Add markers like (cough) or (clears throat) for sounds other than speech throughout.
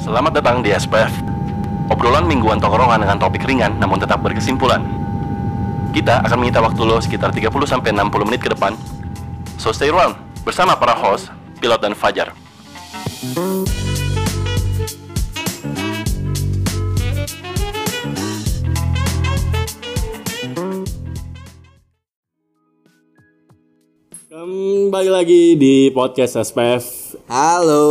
Selamat datang di SPF. Obrolan mingguan tongkrongan dengan topik ringan namun tetap berkesimpulan. Kita akan menyita waktu lo sekitar 30 sampai 60 menit ke depan. So stay around bersama para host, Pilot dan Fajar. Kembali lagi di podcast SPF. Halo.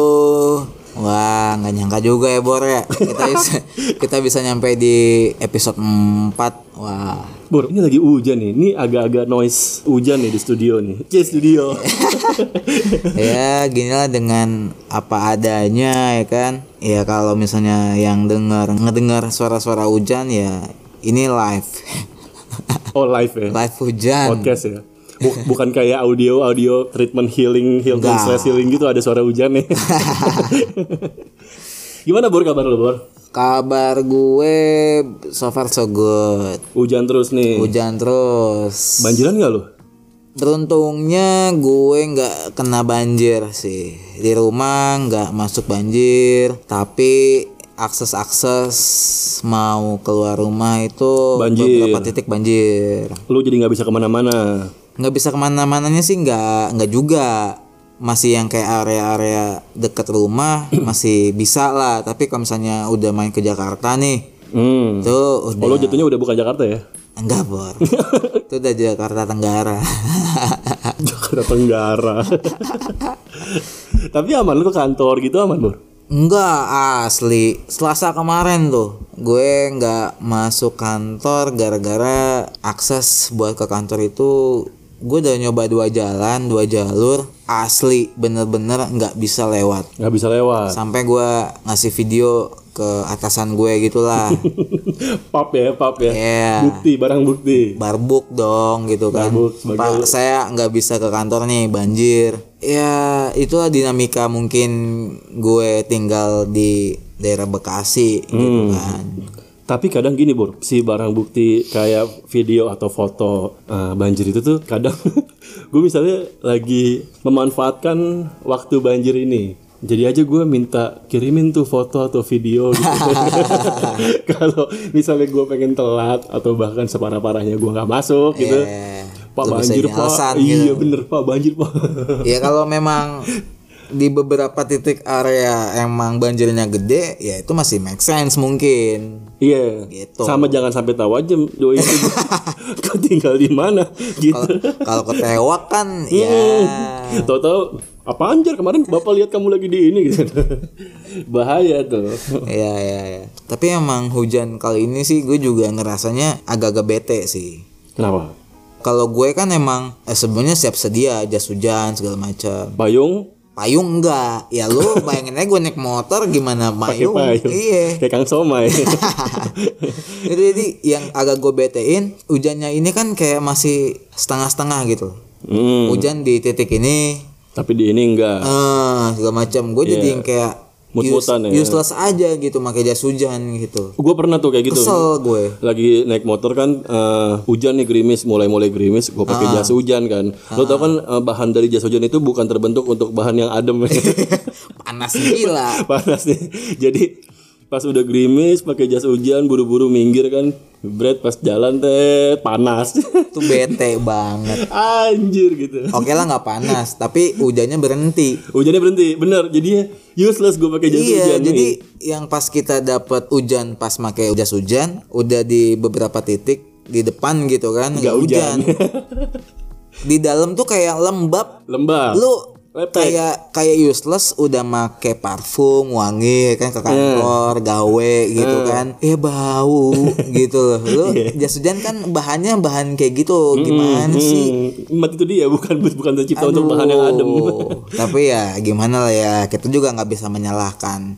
Wah, nggak nyangka juga ya Bor ya. Kita bisa, kita bisa nyampe di episode 4. Wah. Bor, ini lagi hujan nih. Ini agak-agak noise hujan nih di studio nih. C (laughs) studio. Ya, ginilah dengan apa adanya ya kan. Ya kalau misalnya yang dengar ngedengar suara-suara hujan ya ini live. (laughs) oh, live ya. live hujan. Podcast ya. Bu- bukan kayak audio audio treatment healing healing Enggak. slash healing gitu ada suara hujan (laughs) nih. Gimana Bor kabar lo Bor? Kabar gue so far so good. Hujan terus nih. Hujan terus. Banjiran nggak lo? Beruntungnya gue nggak kena banjir sih di rumah nggak masuk banjir tapi akses akses mau keluar rumah itu Banjir. beberapa titik banjir Lo jadi nggak bisa kemana-mana. nggak bisa kemana-mananya sih nggak nggak juga masih yang kayak area-area deket rumah (clears throat) masih bisa lah tapi kalau misalnya udah main ke Jakarta nih Hmm. itu Oh, udah lo jatuhnya udah bukan Jakarta ya? (laughs) enggak bor itu udah Jakarta Tenggara (laughs) Jakarta Tenggara. Tapi aman lo ke kantor gitu aman Bor? Enggak asli Selasa kemarin tuh Gue nggak masuk kantor Gara-gara akses buat ke kantor itu Gue udah nyoba dua jalan Dua jalur Asli bener-bener nggak bisa lewat Nggak bisa lewat. Sampai gue ngasih video Ke atasan gue gitulah (laughs) pap ya, pap ya. Iya. Bukti, barang bukti. Barbuk dong gitu kan Barbuk sebagai- Pak saya nggak bisa ke kantor nih banjir Ya itulah dinamika mungkin Gue tinggal di daerah Bekasi Hmm. gitu kan Tapi kadang gini, Bor, si barang bukti kayak video atau foto eh, banjir itu tuh kadang (laughs) gue misalnya lagi memanfaatkan waktu banjir ini. Jadi aja gue minta kirimin tuh foto atau video gitu. (laughs) Kalau misalnya gue pengen telat atau bahkan separah-parahnya gue nggak masuk gitu. Eh, Pak lu bisa banjir jadi pak, alasan iya gitu. bener pak banjir pak. (laughs) Ya kalau memang di beberapa titik area emang banjirnya gede, ya itu masih make sense mungkin. Iya. Gitu. Sama jangan sampai tahu aja doi itu (laughs) (laughs) Kau tinggal di mana gitu. (laughs) Kalau ketewak kan ya Hmm. Tahu-tahu apa anjir kemarin Bapak lihat kamu lagi di ini (laughs) gitu. Bahaya tuh. ya ya ya. Tapi emang hujan kali ini sih gue juga ngerasanya agak-agak bete sih. Kenapa? Kalau gue kan emang eh, sebenarnya siap sedia jas hujan segala macam. Payung Payung enggak. (laughs) Ya lu bayangin aja gue naik motor gimana pakai payung. payung. Iya. (laughs) Kayak Kang (laughs) Somai. Itu jadi yang agak gue betein hujannya ini kan kayak masih setengah-setengah gitu. Hmm, Hujan di titik ini Tapi di ini eh enggak. segala macam. Gue jadi yang kayak Iya. Mut-mutan ya. useless aja gitu pakai jas hujan gitu. Gue pernah tuh kayak gitu. Kesel gue. (laughs) Lagi naik motor kan eh, hujan nih gerimis, mulai-mulai gerimis, gue pakai Ah. jas hujan kan. Lo tau kan eh, bahan dari jas hujan itu bukan terbentuk untuk bahan yang (laughs) adem. Panas gila. (laughs) panas nih. Jadi pas udah gerimis pakai jas hujan buru-buru minggir kan. Bread pas jalan teh panas. (laughs) Itu bete banget. Anjir gitu. Oke lah nggak panas, tapi hujannya berhenti. Hujannya berhenti, bener. Jadinya useless gue pakai jas Iya, hujan jadi nih. yang pas kita dapat hujan pas pakai jas hujan, udah di beberapa titik di depan gitu kan, nggak hujan. hujan. di dalam tuh kayak lembab. (laughs) Lembab. Lu Nah, Lepek. kayak kayak useless udah make parfum wangi kan Iya. ke kantor gawe gitu Eh. kan ya (laughs) bau gitu loh lu jas hujan kan bahannya bahan kayak gitu gimana sih Iya. Hmm, empat itu dia bukan bukan tercipta untuk bahan yang adem. Aduh, tapi ya gimana lah ya kita juga nggak bisa menyalahkan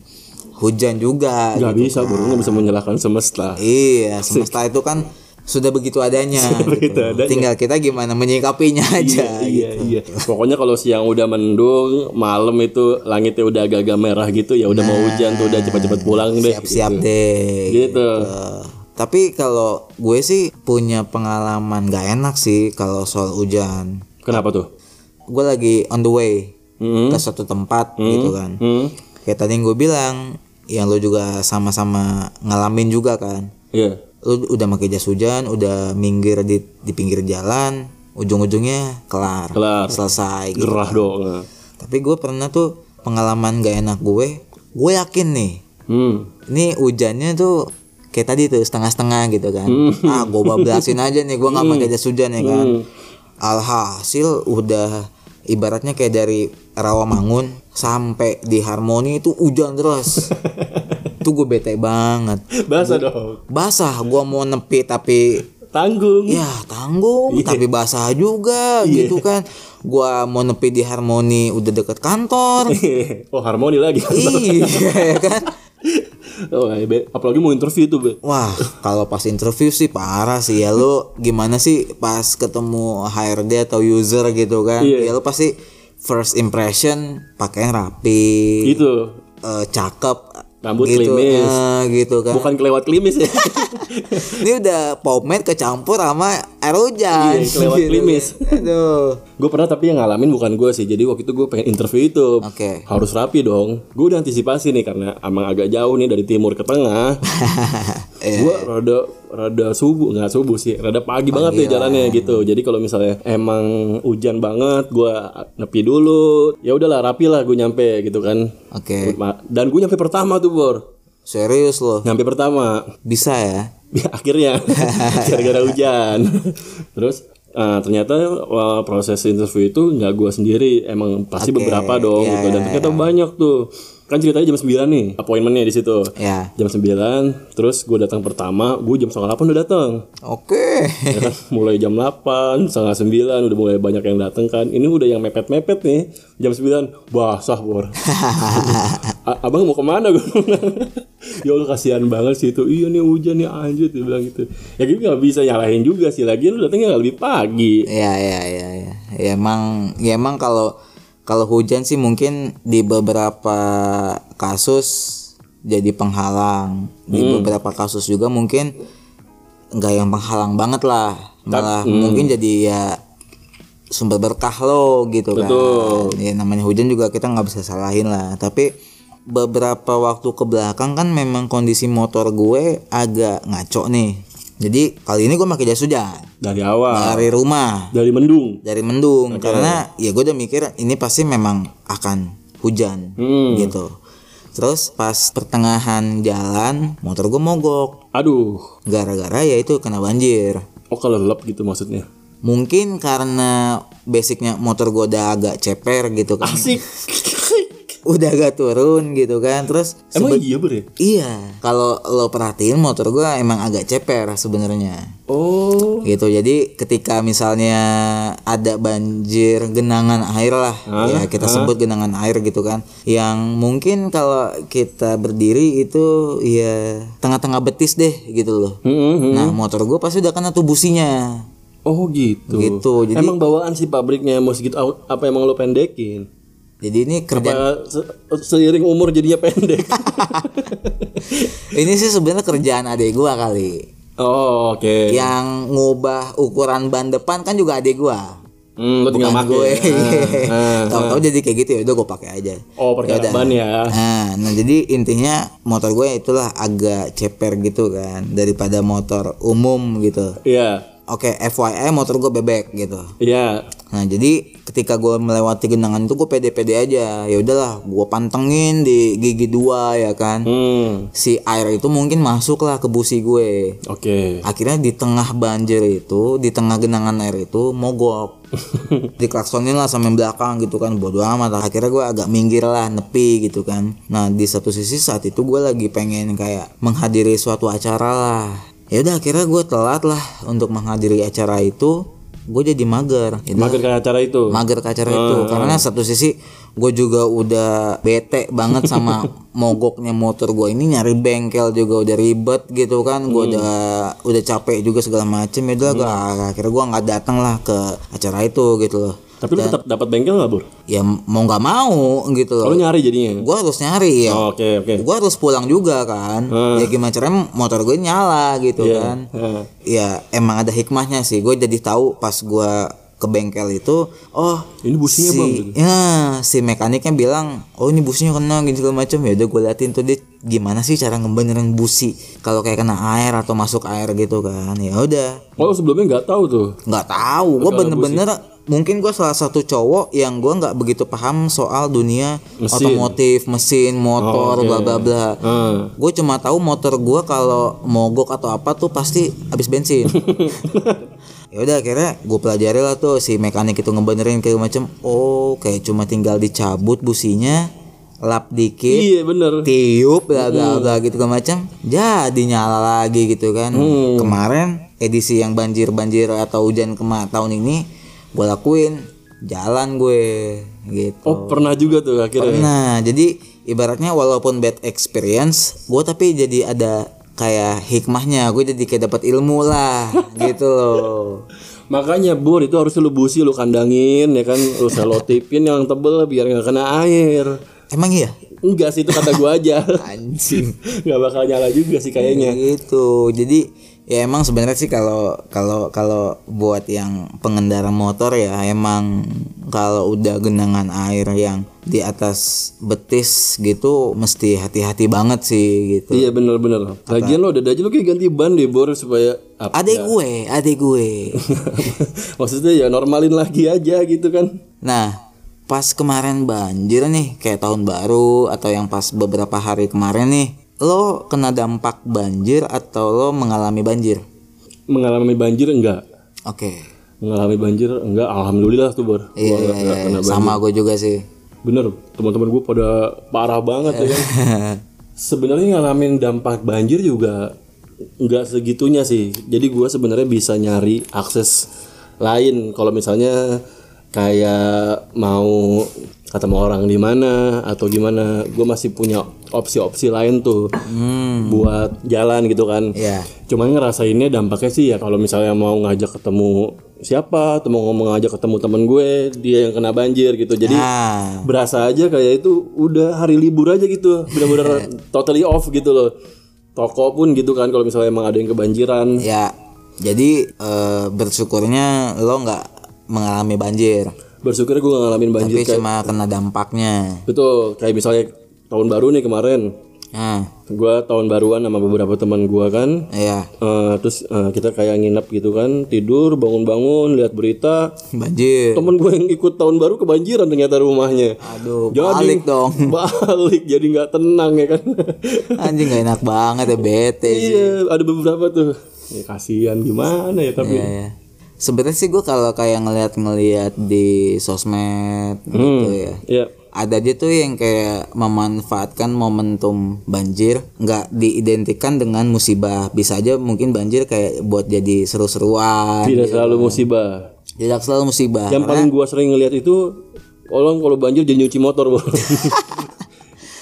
hujan juga Gak gitu. bisa, burung (laughs) nggak bisa menyalahkan (laughs) semesta. iya semesta itu kan sudah begitu adanya begitu gitu. adanya. tinggal kita gimana menyikapinya aja Iya iya. gitu. Pokoknya kalau siang udah mendung, malam itu langitnya udah agak-agak merah gitu ya udah mau hujan tuh udah cepat-cepat pulang deh. Nah. siap-siap gitu. deh Gitu. Eh, tapi kalau gue sih punya pengalaman gak enak sih kalau soal hujan Kenapa tuh? gue lagi on the way Hmm. ke suatu tempat gitu kan Hmm. kayak tadi yang gue bilang yang lo juga sama-sama ngalamin juga kan Iya. lu udah pakai jas hujan udah minggir di di pinggir jalan ujung-ujungnya kelar, Kelar. selesai gitu. Gerah dong. tapi gue pernah tuh pengalaman gak enak gue gue yakin nih Hmm. ini hujannya tuh kayak tadi tuh setengah-setengah gitu kan ah gue bablasin aja nih gue nggak pakai jas hujan ya kan alhasil udah ibaratnya kayak dari Rawamangun sampai di Harmoni itu hujan terus tuh gue bete banget Bahasa Iya. dong. basah gue mau nepi tapi Tanggung. ya tanggung tapi basah juga gitu kan gua mau nepi di harmoni udah deket kantor (laughs) oh, harmoni lagi. iya ya kan (laughs) oh, eh, Be. apalagi mau interview tuh, Be. wah kalau pas interview sih parah sih ya lu gimana sih pas ketemu HRD atau user gitu kan Iya. ya lu pasti first impression pakaian rapi Gitu. eh, cakep Rambut gitu klimis. eh, gitu kan Bukan kelewat klimis (laughs) ya. ini udah pomade kecampur sama air hujan Iya, kelewat gitu kan. klimis. aduh gue pernah tapi yang ngalamin bukan gue sih. Jadi waktu itu gue pengen interview itu. Oke. (laughs) Harus rapi dong. Gue udah antisipasi nih karena emang agak jauh nih dari timur ke tengah. Eh, gue rada rada subuh nggak subuh sih rada pagi banget nih jalannya gitu jadi kalau misalnya emang hujan banget gue nepi dulu ya udahlah rapi lah gue nyampe gitu kan oke Ma- dan gue nyampe pertama tuh bor Serius loh, nyampe pertama (laughs) bisa ya? Ya, akhirnya (laughs) gara-gara hujan terus eh, ternyata eh, proses interview itu nggak gue sendiri emang pasti beberapa dong gitu dan ternyata banyak tuh kan ceritanya jam 9 nih appointmentnya di situ Ya, jam 9 terus gue datang pertama gue jam setengah 8 udah datang oke. (laughs) Ya kan? mulai jam 8, setengah 9 udah mulai banyak yang datang kan. Ini udah yang mepet-mepet nih. Jam 9 basah, (laughs) Bor. A- Abang mau kemana gue? (laughs) ya Allah kasihan banget sih itu. Iya nih hujan nih anjir dia bilang gitu. Ya gitu nggak bisa nyalahin juga sih lagi lu datangnya nggak lebih pagi. Ya, ya, ya, ya. Ya, emang, ya emang kalau kalau hujan sih mungkin di beberapa kasus jadi penghalang. Di beberapa kasus juga mungkin nggak yang penghalang banget lah, malah mungkin jadi ya sumber berkah lo gitu kan. Ya namanya hujan juga kita nggak bisa salahin lah. Tapi beberapa waktu ke belakang kan memang kondisi motor gue agak ngaco nih. Jadi kali ini gue pakai jas hujan Dari awal, dari rumah dari mendung. dari mendung karena ya gue udah mikir ini pasti memang akan hujan Hmm. gitu. Terus pas pertengahan jalan motor gue mogok Aduh, gara-gara ya itu kena banjir. oh kelelep gitu maksudnya. Mungkin karena basicnya motor gue udah agak ceper gitu kan. Asik. Udah agak turun gitu kan. Terus Emang iya ber ya? iya, kalau lo perhatiin motor gue emang agak ceper sebenarnya. Oh, Gitu. Jadi ketika misalnya ada banjir genangan air lah, ya kita sebut genangan air gitu kan. Yang mungkin kalau kita berdiri itu ya tengah-tengah betis deh gitu loh. Mm-mm. Nah, motor gue pasti udah kena tuh businya. oh gitu. Gitu, jadi- Emang bawaan sih pabriknya mau segitu apa emang lo pendekin? Jadi ini kerja Apa se- seiring umur jadinya (laughs) pendek. Ini sih sebenarnya kerjaan adek gua kali. oh, oke. Yang ngubah ukuran ban depan kan juga adek gua. Hmm, lo tinggal make. Bukan gue. Ah, ah. (laughs) Tahu-tahu jadi kayak gitu ya udah gua pakai aja. Oh, perkara Yaudah. ban ya. Nah, nah jadi intinya motor gue itulah agak ceper gitu kan daripada motor umum gitu. Iya. Oke, FYI motor gue bebek gitu. Iya. Nah, jadi ketika gue melewati genangan itu gue pede-pede aja. Ya udahlah, gue pantengin di gigi dua ya kan. Hmm. Si air itu mungkin masuk lah ke busi gue. Oke. Akhirnya di tengah banjir itu, di tengah genangan air itu mogok. Diklaksonin lah sama yang belakang gitu kan, bodo amat. Akhirnya gue agak minggir lah, nepi gitu kan. Nah di satu sisi saat itu gue lagi pengen kayak menghadiri suatu acara lah. Ya udah akhirnya gue telat lah untuk menghadiri acara itu. Gue jadi mager. Ya udah, Mager kayak acara itu. mager ke acara itu karena satu sisi gue juga udah bete banget (laughs) sama mogoknya motor gue ini nyari bengkel juga udah ribet gitu kan gue Hmm. udah udah capek juga segala macem ya udah gua- akhirnya gue nggak datang lah ke acara itu gitu loh Tapi lo tetap dapat bengkel nggak, Bur? ya mau nggak mau gitu loh Kalau nyari jadinya. gue harus nyari ya Oh, Oke, oke. gue harus pulang juga kan ya gimana caranya motor gue nyala gitu Iya. kan Ah. ya emang ada hikmahnya sih gue jadi tahu pas gue ke bengkel itu oh Ini businya, si, Bang, gitu. ya si mekaniknya bilang oh ini businya kena gitu segala macam ya udah gue liatin tuh dia gimana sih cara ngebenerin busi kalau kayak kena air atau masuk air gitu kan ya udah Oh lu sebelumnya nggak tahu tuh. nggak tahu gue bener-bener mungkin gue salah satu cowok yang gue nggak begitu paham soal dunia Mesin. otomotif mesin motor Oh, oke. bla bla bla Hmm. gue cuma tahu motor gue kalau mogok atau apa tuh pasti (laughs) habis bensin ya udah akhirnya gue pelajari lah tuh si mekanik itu ngebenerin kayak macam oh kayak cuma tinggal dicabut businya lap dikit Iya bener. tiup bla bla bla gitu ke macam jadi nyala lagi gitu kan kemarin edisi yang banjir banjir atau hujan kema tahun ini gue lakuin jalan gue gitu Oh pernah juga tuh akhirnya. nah jadi ibaratnya walaupun bad experience gue tapi jadi ada kayak hikmahnya gue jadi kayak dapat ilmu lah gitu loh Makanya Bur itu harus lu busi lu kandangin ya kan lu selotipin yang tebel biar nggak kena air. emang iya Enggak sih itu kata gua aja. (laughs) anjing Nggak bakal nyala juga sih kayaknya. gitu jadi ya emang sebenarnya sih kalau kalau kalau buat yang pengendara motor ya emang kalau udah genangan air yang di atas betis gitu mesti hati-hati banget sih gitu Iya bener-bener. Lagian lo udah aja lu kayak ganti ban deh Bor supaya apa? (laughs) adek gue adek gue Maksudnya ya normalin lagi aja gitu kan. nah pas kemarin banjir nih kayak tahun baru atau yang pas beberapa hari kemarin nih lo kena dampak banjir atau lo mengalami banjir Mengalami banjir enggak? oke Mengalami banjir enggak? Alhamdulillah tuh Bor. Iya, iya, iya. sama gue juga sih (laughs) Bener, teman-teman gue pada parah banget ya (laughs) kan. Sebenarnya ngalamin dampak banjir juga nggak segitunya sih. Jadi gue sebenarnya bisa nyari akses lain kalau misalnya kayak mau ketemu orang di mana atau gimana, gue masih punya opsi-opsi lain tuh buat jalan gitu kan. Hmm. Iya. Cuman ngerasainnya dampaknya sih ya kalau misalnya mau ngajak ketemu siapa, atau mau ngomong ngajak ketemu temen gue, dia yang kena banjir gitu. Jadi Ah. berasa aja kayak itu udah hari libur aja gitu (laughs) benar-benar totally off gitu loh toko pun gitu kan kalau misalnya emang ada yang kebanjiran Ya, jadi eh, bersyukurnya lo nggak mengalami banjir, bersyukur gue gak ngalamin banjir tapi kayak- cuma kena dampaknya. betul kayak misalnya tahun baru nih kemarin Nah, gue tahun baruan sama beberapa teman gue kan ya Eh, terus eh, kita kayak nginep gitu kan tidur bangun-bangun lihat berita banjir. temen gue yang ikut tahun baru kebanjiran ternyata rumahnya Aduh, balik dong. (laughs) balik jadi nggak tenang ya kan Anjing nggak enak banget ya bete. sih. Iya, ada beberapa tuh. Ya, kasihan gimana ya tapi. Iya, iya. Sebenarnya sih gue kalau kayak ngeliat-ngeliat di sosmed gitu ya. Iya. Ada aja tuh yang kayak memanfaatkan momentum banjir nggak diidentikan dengan musibah bisa aja mungkin banjir kayak buat jadi seru-seruan Tidak selalu musibah. tidak selalu musibah Yang paling gua sering ngeliat itu tolong kalau banjir jadi nyuci motor, (laughs) Bro.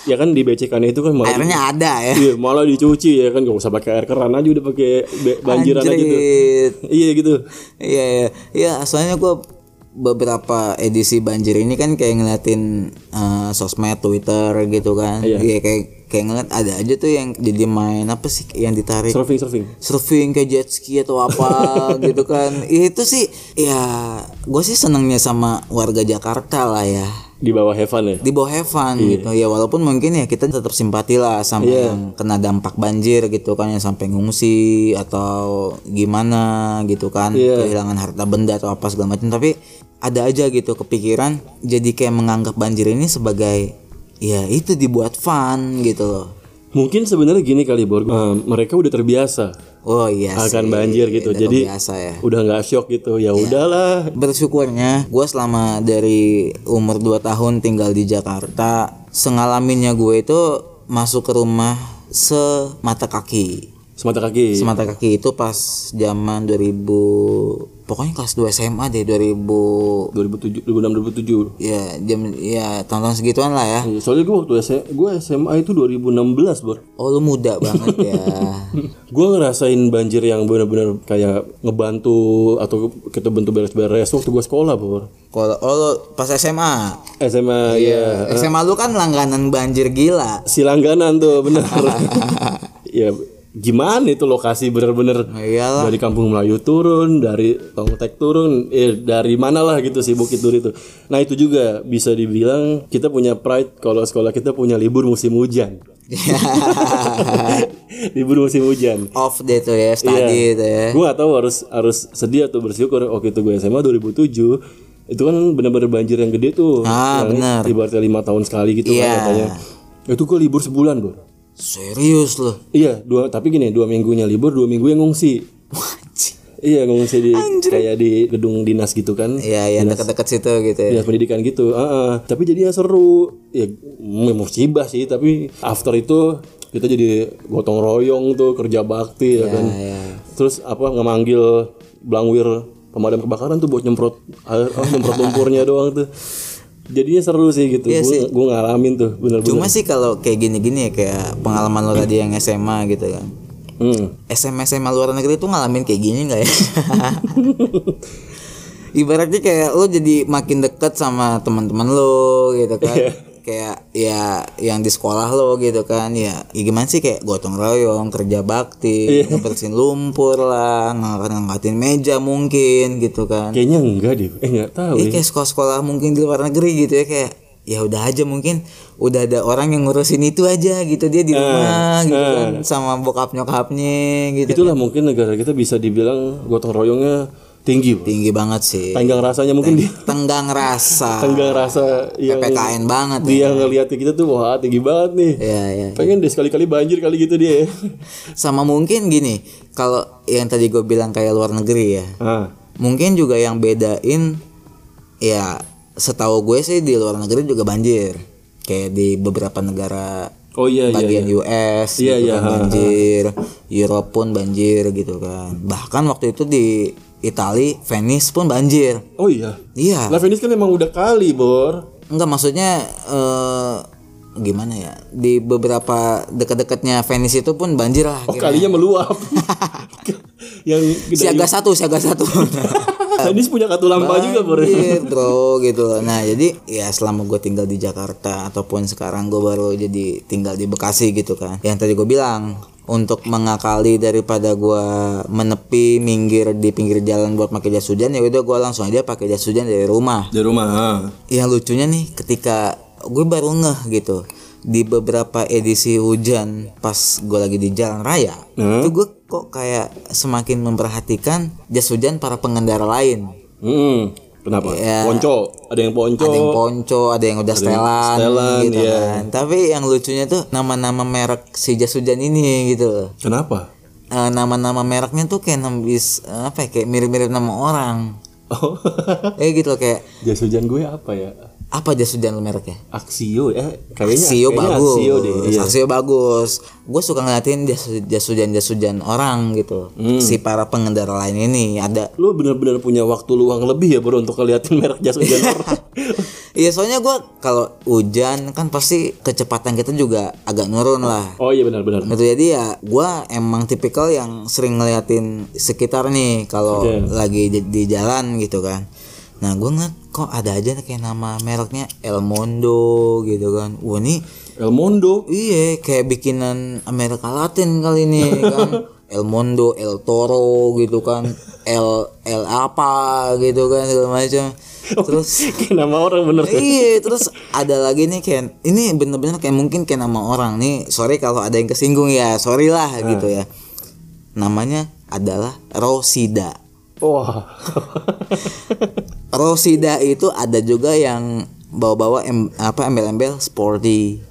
ya kan di BCK itu kan malah airnya ada ya Iya, malah dicuci ya kan gak usah pakai air keran aja udah pakai be- banjiran aja gitu. Anjrit. Iya gitu. Iya iya iya soalnya gua beberapa edisi banjir ini kan kayak ngeliatin eh, sosmed Twitter gitu kan. Iya kayak kayak ngeliat ada aja tuh yang jadi main apa sih yang ditarik Surfing surfing. surfing kayak jet ski atau (laughs) apa gitu kan. Itu sih ya gue sih senengnya sama warga Jakarta lah ya Di bawah Heaven ya. di bawah Heaven gitu ya walaupun mungkin ya kita tetap simpati lah sama Iya. yang kena dampak banjir gitu kan yang sampai ngungsi atau gimana gitu kan Iya. kehilangan harta benda atau apa segala macam tapi ada aja gitu kepikiran jadi kayak menganggap banjir ini sebagai ya itu dibuat fun gitu loh Mungkin sebenarnya gini kali, Bor. Eh, mereka udah terbiasa oh iya sih, akan banjir gitu. udah Jadi biasa ya Iya. udah nggak shock gitu. Ya udahlah, bersyukurnya gue selama dari umur 2 tahun tinggal di Jakarta sengalaminnya gue itu masuk ke rumah semata kaki semata kaki. semata kaki itu pas zaman 2000 pokoknya kelas 2 SMA deh 2000 2007 2006 ya jam ya tahun-tahun segituan lah ya 2007 Iya, soalnya gue waktu SMA, gue SMA itu 2016 bor oh lu muda banget ya gue ngerasain banjir yang benar-benar kayak ngebantu atau kita bentuk beres-beres waktu gue sekolah bor kalau oh lu pas SMA SMA ya Iya. SMA lu kan langganan banjir gila si langganan tuh benar ya gimana itu lokasi bener-bener Nah, iyalah. dari kampung Melayu turun dari Tongtek turun eh dari mana lah gitu sih Bukit Duri itu nah itu juga bisa dibilang kita punya pride kalau sekolah kita punya libur musim hujan (laughs) libur musim hujan (laughs) Off deh tuh ya, Iya. study itu ya. Gue gak tahu harus harus sedih atau bersyukur waktu itu gue SMA 2007 itu kan bener-bener banjir yang gede tuh. Ah, yang benar. Ibaratnya lima tahun sekali gitu Iya. kan katanya. Itu gue libur sebulan bro. Serius loh. Iya, dua tapi gini dua minggunya libur, dua minggu yang ngungsi. Iya ngungsi di kayak di gedung dinas gitu kan. Iya, iya dekat-dekat situ gitu ya. Dinas pendidikan gitu. Ah, ah. Tapi jadinya seru. Ya mm, musibah sih, tapi after itu kita jadi gotong royong tuh kerja bakti Iya, ya, kan. Terus apa ngemanggil belangwir pemadam kebakaran tuh buat nyemprot air- (laughs) oh, nyemprot lumpurnya doang tuh. Jadinya seru sih gitu. gue gue ngalamin tuh bener-bener. Iya Cuma sih kalau kayak gini-gini ya kayak pengalaman lo tadi yang SMA gitu kan. Hmm. SMA SMA luar negeri tuh ngalamin kayak gini nggak ya? Ibaratnya kayak lo jadi makin deket sama teman-teman lo gitu kan. Kayak ya yang di sekolah lo gitu kan ya, ya gimana sih kayak gotong royong kerja bakti ngebersihin lumpur lah ngangkat ngangkatin meja mungkin gitu kan Kayaknya enggak deh. Eh enggak tahu. Iya ya. kayak sekolah-sekolah mungkin di luar negeri gitu ya kayak ya udah aja mungkin udah ada orang yang ngurusin itu aja gitu dia di rumah gitu kan sama bokap nyokapnya gitu Itulah mungkin negara kita bisa dibilang gotong royongnya tinggi. Bro. tinggi banget sih Tanggang rasanya mungkin Iya. dia tenggang rasa tanggang Ah, rasa yang PKN banget ya. dia ngelihat kita tuh wah tinggi banget nih. ya ya Pengen deh sekali-kali banjir kali gitu dia. ya. sama mungkin gini kalau yang tadi gue bilang kayak luar negeri ya ah, mungkin juga yang bedain ya setahu gue sih di luar negeri juga banjir kayak di beberapa negara oh iya iya. bagian US Iya, gitu iya, kan, banjir, Europe pun banjir gitu kan. Bahkan waktu itu di Itali, Venice pun banjir. Oh iya. Iya. Lah Venice kan emang udah kali bor. Enggak maksudnya eh, gimana ya? Di beberapa dekat-dekatnya Venice itu pun banjir lah. Oh kira- kalinya (laughs) meluap. yang gede. Siaga satu, siaga satu. (laughs) Venice punya katulampa juga bor. ya? Banjir bro gitu loh. Nah jadi ya selama gue tinggal di Jakarta ataupun sekarang gue baru jadi tinggal di Bekasi gitu kan. Yang tadi gue bilang untuk mengakali daripada gue menepi minggir di pinggir jalan buat pakai jas hujan ya udah gue langsung aja pakai jas hujan dari rumah. Di rumah. Yang lucunya nih ketika gue baru ngeh gitu di beberapa edisi hujan pas gue lagi di jalan raya itu gue kok kayak semakin memperhatikan jas hujan para pengendara lain Hmm. Kenapa? Iya. Ponco. Ada yang ponco. ada yang ponco, ada yang udah setelan, setelan, gitu iya. kan. Tapi yang lucunya tuh nama-nama merek si jas hujan ini gitu. loh. Kenapa? Eh, nama-nama mereknya tuh kayak nembis eh, apa ya, kayak mirip-mirip nama orang. Oh. (laughs) Eh gitu loh kayak Jas hujan gue apa ya? apa jas hujan lu mereknya? Aksio ya kayaknya Sio kayaknya bagus. Aksio deh. Iya. Aksio bagus. Gue suka ngeliatin jas jas hujan jas hujan orang gitu. Hmm. Si para pengendara lain ini ada Lu bener-bener punya waktu luang lebih ya bro untuk ngeliatin merek jas hujan (laughs) orang. Iya soalnya gue kalau hujan kan pasti kecepatan kita juga agak nurun lah. oh iya benar-benar. Gitu jadi ya gua emang tipikal yang sering ngeliatin sekitar nih kalau Oke. lagi di, di jalan gitu kan. Nah gua ngeliat kok ada aja kayak nama mereknya El Mondo gitu kan. Wah ini El Mondo. iya kayak bikinan Amerika Latin kali ini kan. El Mondo, El Toro gitu kan. El El apa gitu kan segala macam. Terus (laughs) Kayak nama orang bener. Iya, terus ada lagi nih Ken. Ini bener-bener kayak mungkin kayak nama orang nih. Sorry kalau ada yang kesinggung ya, sorry lah gitu ya. Namanya adalah Rosida. (laughs) Wah. Rosida itu ada juga yang bawa-bawa em- apa embel-embel sporty.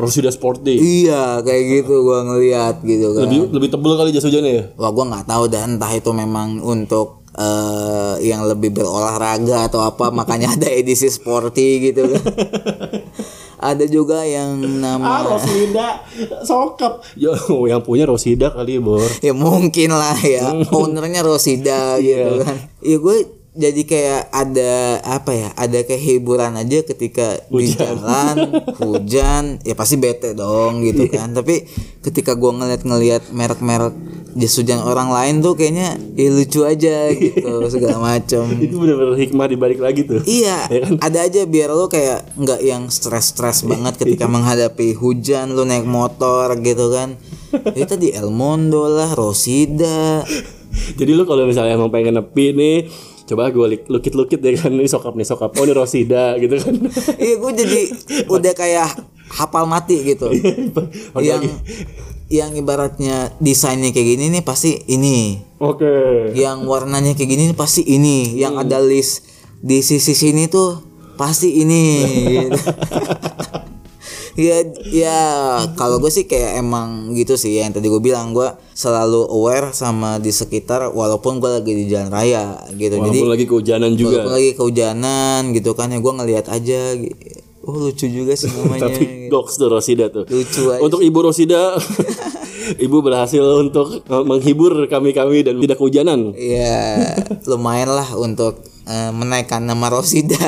Rosida Sporty. Iya, kayak gitu gua ngeliat gitu kan. Lebih lebih tebel kali jas hujannya ya. Wah, gua nggak tahu dan entah itu memang untuk eh, yang lebih berolahraga atau apa makanya ada edisi sporty gitu kan. ada juga yang nama Rosida sokap. Ya (laughs) yang punya Rosida kali bor. ya mungkin lah ya ownernya Rosida gitu kan ya gue jadi kayak ada apa ya ada kayak hiburan aja ketika di jalan hujan ya pasti bete dong gitu kan tapi ketika gua ngeliat-ngeliat merek-merek jas hujan orang lain tuh kayaknya ya lucu aja gitu segala macem (laughs) itu benar-benar hikmah dibalik lagi tuh Iya, (laughs) Ya kan? ada aja biar lo kayak nggak yang stres-stres banget (laughs) ketika menghadapi hujan lo naik motor gitu kan. Ya tadi El Mondo lah, Rosida. Jadi lu kalau misalnya emang pengen nepi nih, coba gue lukit-lukit ya kan ini sokap nih sokap. Oh ini Rosida gitu (laughs) kan. Iya, gue jadi udah kayak hafal mati gitu. Iya. Oke, yang oke. yang ibaratnya desainnya kayak gini nih pasti ini. Oke. Yang warnanya kayak gini nih pasti ini. Yang Hmm. ada list di sisi sini tuh pasti (laughs) ini. gitu. ya ya kalau gue sih kayak emang gitu sih yang tadi gue bilang gue selalu aware sama di sekitar walaupun gue lagi di jalan raya gitu jadi Walaupun lagi kehujanan walaupun juga. lagi kehujanan gitu kan ya gue ngelihat aja gi- oh lucu juga sih (laughs) namanya gitu. Tapi dogs tuh Rosida tuh. lucu aja Untuk Ibu (laughs) Rosida, Ibu berhasil untuk eh, menghibur kami-kami dan tidak kehujanan. (laughs) ya lumayan lah untuk eh, menaikkan nama (laughs) Rosida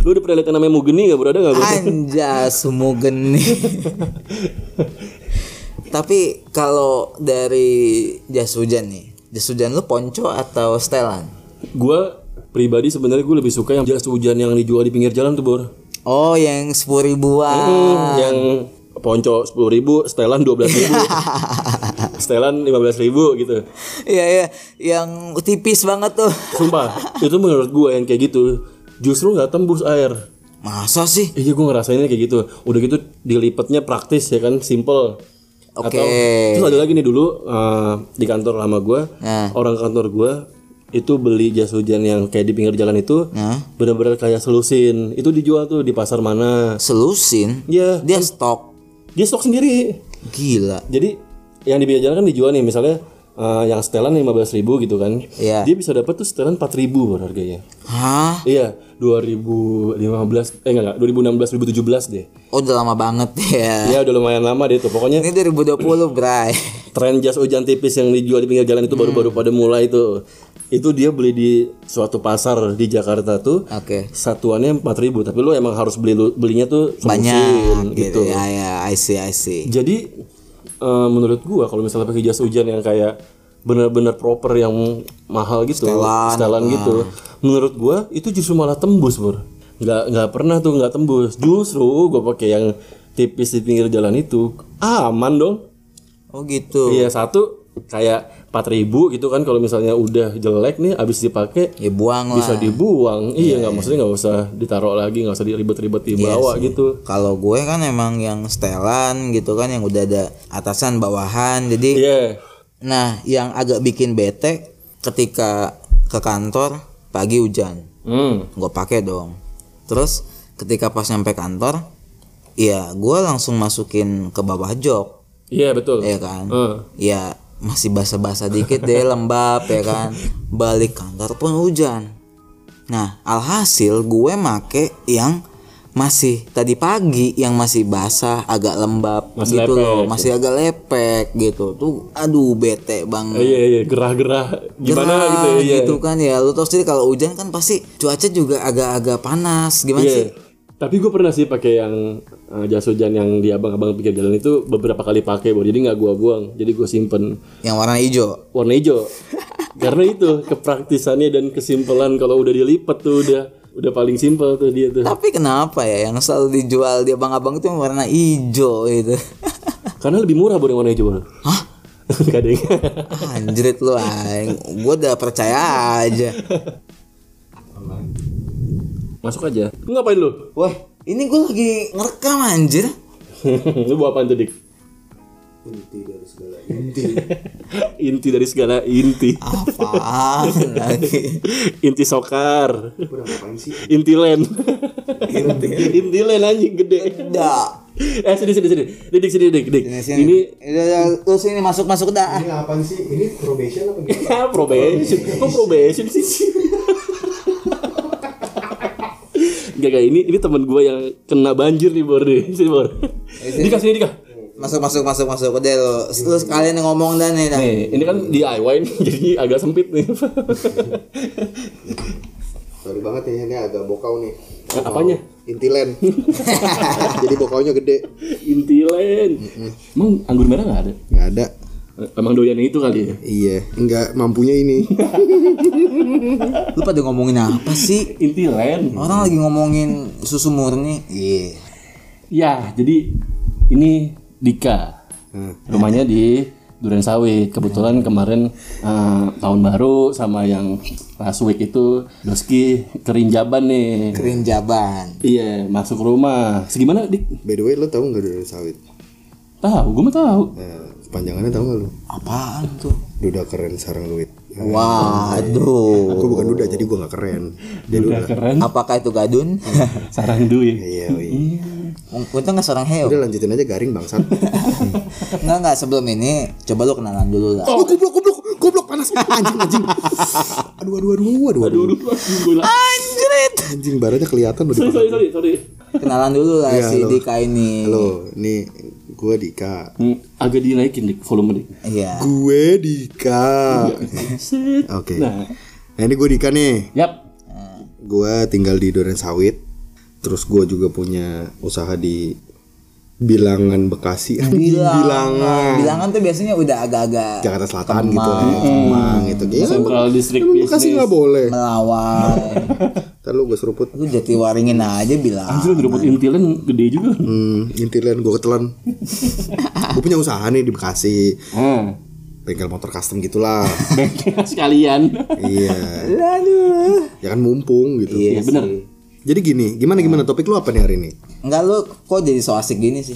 Lu udah pernah lihat yang namanya Mugeni gak bro? Ada gak bro? anjas mugeni (laughs) tapi kalau dari jas hujan nih jas hujan lu ponco atau setelan Gue pribadi sebenarnya gue lebih suka yang jas hujan yang dijual di pinggir jalan tuh bro. oh yang sepuluh ribuan Yang ponco sepuluh ribu, setelan dua belas (laughs) ribu, setelan lima belas ribu gitu. Iya ya yang tipis banget tuh Sumpah, itu menurut gue yang kayak gitu justru nggak tembus air. masa sih Iya gue ngerasainnya kayak gitu. Udah gitu dilipatnya praktis ya kan, simple. oke Atau terus ada lagi nih dulu eh, di kantor lama gue, Nah. orang kantor gue itu beli jas hujan yang kayak di pinggir jalan itu Nah. benar-benar kayak selusin. Itu dijual tuh di pasar mana? selusin Iya, dia stok dia stok sendiri. gila Jadi yang di pinggir jalan kan dijual nih misalnya eh, yang setelan 15.000 gitu kan. Iya. Dia bisa dapat tuh setelan 4.000 baru harganya. hah Iya, 2015 eh enggak, enggak 2016 2017 deh. oh udah lama banget Ya ya udah lumayan lama deh tuh. Pokoknya ini 2020 bray tren jas hujan tipis yang dijual di pinggir jalan itu Hmm. baru-baru pada mulai tuh. Itu dia beli di suatu pasar di Jakarta tuh. oke Satuannya 4000, tapi lu emang harus beli lu- belinya tuh banyak semusin, gitu. ya ya I see I see Jadi eh, menurut gua kalau misalnya pakai jas hujan yang kayak benar-benar proper yang mahal gitu, Setelan. Nah. gitu, menurut gua itu justru malah tembus, Bro. Nggak nggak pernah tuh nggak tembus. Justru gua pakai yang tipis di pinggir jalan itu aman dong. oh gitu Iya, satu kayak 4000 gitu kan kalau misalnya udah jelek nih habis dipakai ya buang lah bisa dibuang. Iya, nggak maksudnya nggak usah ditaruh lagi, nggak usah diribet-ribet dibawa gitu. kalau gue kan emang yang setelan gitu kan yang udah ada atasan bawahan jadi Iya. nah yang agak bikin bete ketika ke kantor pagi hujan Hmm. gue pakai dong terus ketika pas nyampe kantor ya gue langsung masukin ke bawah jok Iya, betul. ya kan Eh. ya masih basa-basa dikit deh lembab ya kan balik kantor pun hujan nah alhasil gue make yang masih tadi pagi yang masih basah agak lembab Masih gitu lepek, loh masih agak lepek gitu tuh aduh bete Eh, banget Iya iya gerah-gerah gimana Gerah gitu ya. Iya. kan ya lu tau sendiri kalau hujan kan pasti cuaca juga agak-agak panas gimana Iya. sih Tapi gue pernah sih pakai yang eh, jas hujan yang di abang-abang pinggir jalan itu beberapa kali pakai, Bro. Jadi nggak gua buang, jadi gue simpen yang warna hijau warna (laughs) hijau. Karena itu kepraktisannya dan kesimpelan kalau udah dilipat tuh udah udah paling simpel tuh dia tuh. tapi kenapa ya yang selalu dijual di abang-abang itu yang warna hijau itu Karena lebih murah Bro yang warna hijau, (laughs) Bro. (laughs) Hah? Kadang. Anjrit lu aing. Gua udah percaya aja. (laughs) Masuk aja. Lu ngapain lu? (laughs) Wah, ini gua lagi ngerekam anjir. lu bawa apaan tuh, Dik? (laughs) Inti dari segala inti. inti dari segala inti. Apaan lagi? Inti sokar. Inti len. Inti len anjing gede. Dah. Eh sini sini sini. Dik dik, sini dik dik. Ini Sini. Udah, udah, lu sini masuk masuk dah. Ini apaan sih? Ini probation apa gimana? Iya, probation. Kok probation sih? Gak, gak, ini ini temen gue yang kena banjir nih Bor nih. Sini Bor. Dika sini Dika. Masuk masuk masuk masuk udah lo. Lu sekalian ngomong dan nih. Dan. Nih, ini kan DIY nih, jadi agak sempit nih. Sorry banget ya, ini agak bokau nih. Nah, Apanya? Intilen. (laughs) Jadi bokaunya gede. Intilen. Emang anggur merah nggak ada? Nggak ada. Emang doyan itu kali ya? Iya, nggak mampunya ini. Lu pada ngomongin apa sih? Intilen. Orang lagi ngomongin susu murni. Iya. Ya, jadi ini Dika. Rumahnya di Duren Sawit. Kebetulan kemarin eh, tahun baru sama yang last week itu Doski kerinjaban nih. Kering jaban. Iya, masuk rumah. Segimana, Dik? By the way, lo tau nggak dari sawit? Tahu, gue mah tahu. Eh, kepanjangannya tau nggak lo? Apaan tuh? Duda keren sarang duit. Nah, Waduh. Gue bukan duda, jadi gue nggak keren. Udah Dia duda. keren. Apakah itu gadun? Sarang duit. Iya, iya. Untung nggak seorang heo. Udah lanjutin aja garing bangsat. Enggak enggak sebelum ini coba lu kenalan dulu lah. Oh, goblok, goblok, (laughs) goblok panas anjing anjing. Aduh, aduh, aduh, aduh, aduh. Aduh, gila. Anjrit. Anjing barannya kelihatan udah. Sorry, sorry, sorry, sorry. Kenalan dulu lah Iya, si halo. Dika ini. Halo, nih gue Dika. Hmm, agak dinaikin dik volume dik. Iya. Gue Dika. Set. Oke. Nah, Iya. Nah ini gue Dika nih. yap. Gue tinggal di Duren Sawit. Terus gue juga punya usaha di Bilangan Bekasi. (laughs) Anjing, Bilangan. Bilangan tuh biasanya udah agak-agak Jakarta Selatan gitu ya. Kemang gitu. Ya, Central emang- District emang Bekasi Business. nggak boleh. Nah. melawan. (laughs) Ntar lu gue seruput. Lu jati waringin aja bilang. Anjir ngerebut intilan gede juga. Hmm, intilan gue ketelan. gue punya usaha nih di Bekasi. Ah, Bengkel motor custom (laughs) gitulah. bengkel (laughs) sekalian. iya. Aduh. Ya kan mumpung gitu. Iya bener. Jadi gini, gimana gimana topik lu apa nih hari ini? Enggak lu kok jadi so asik gini sih?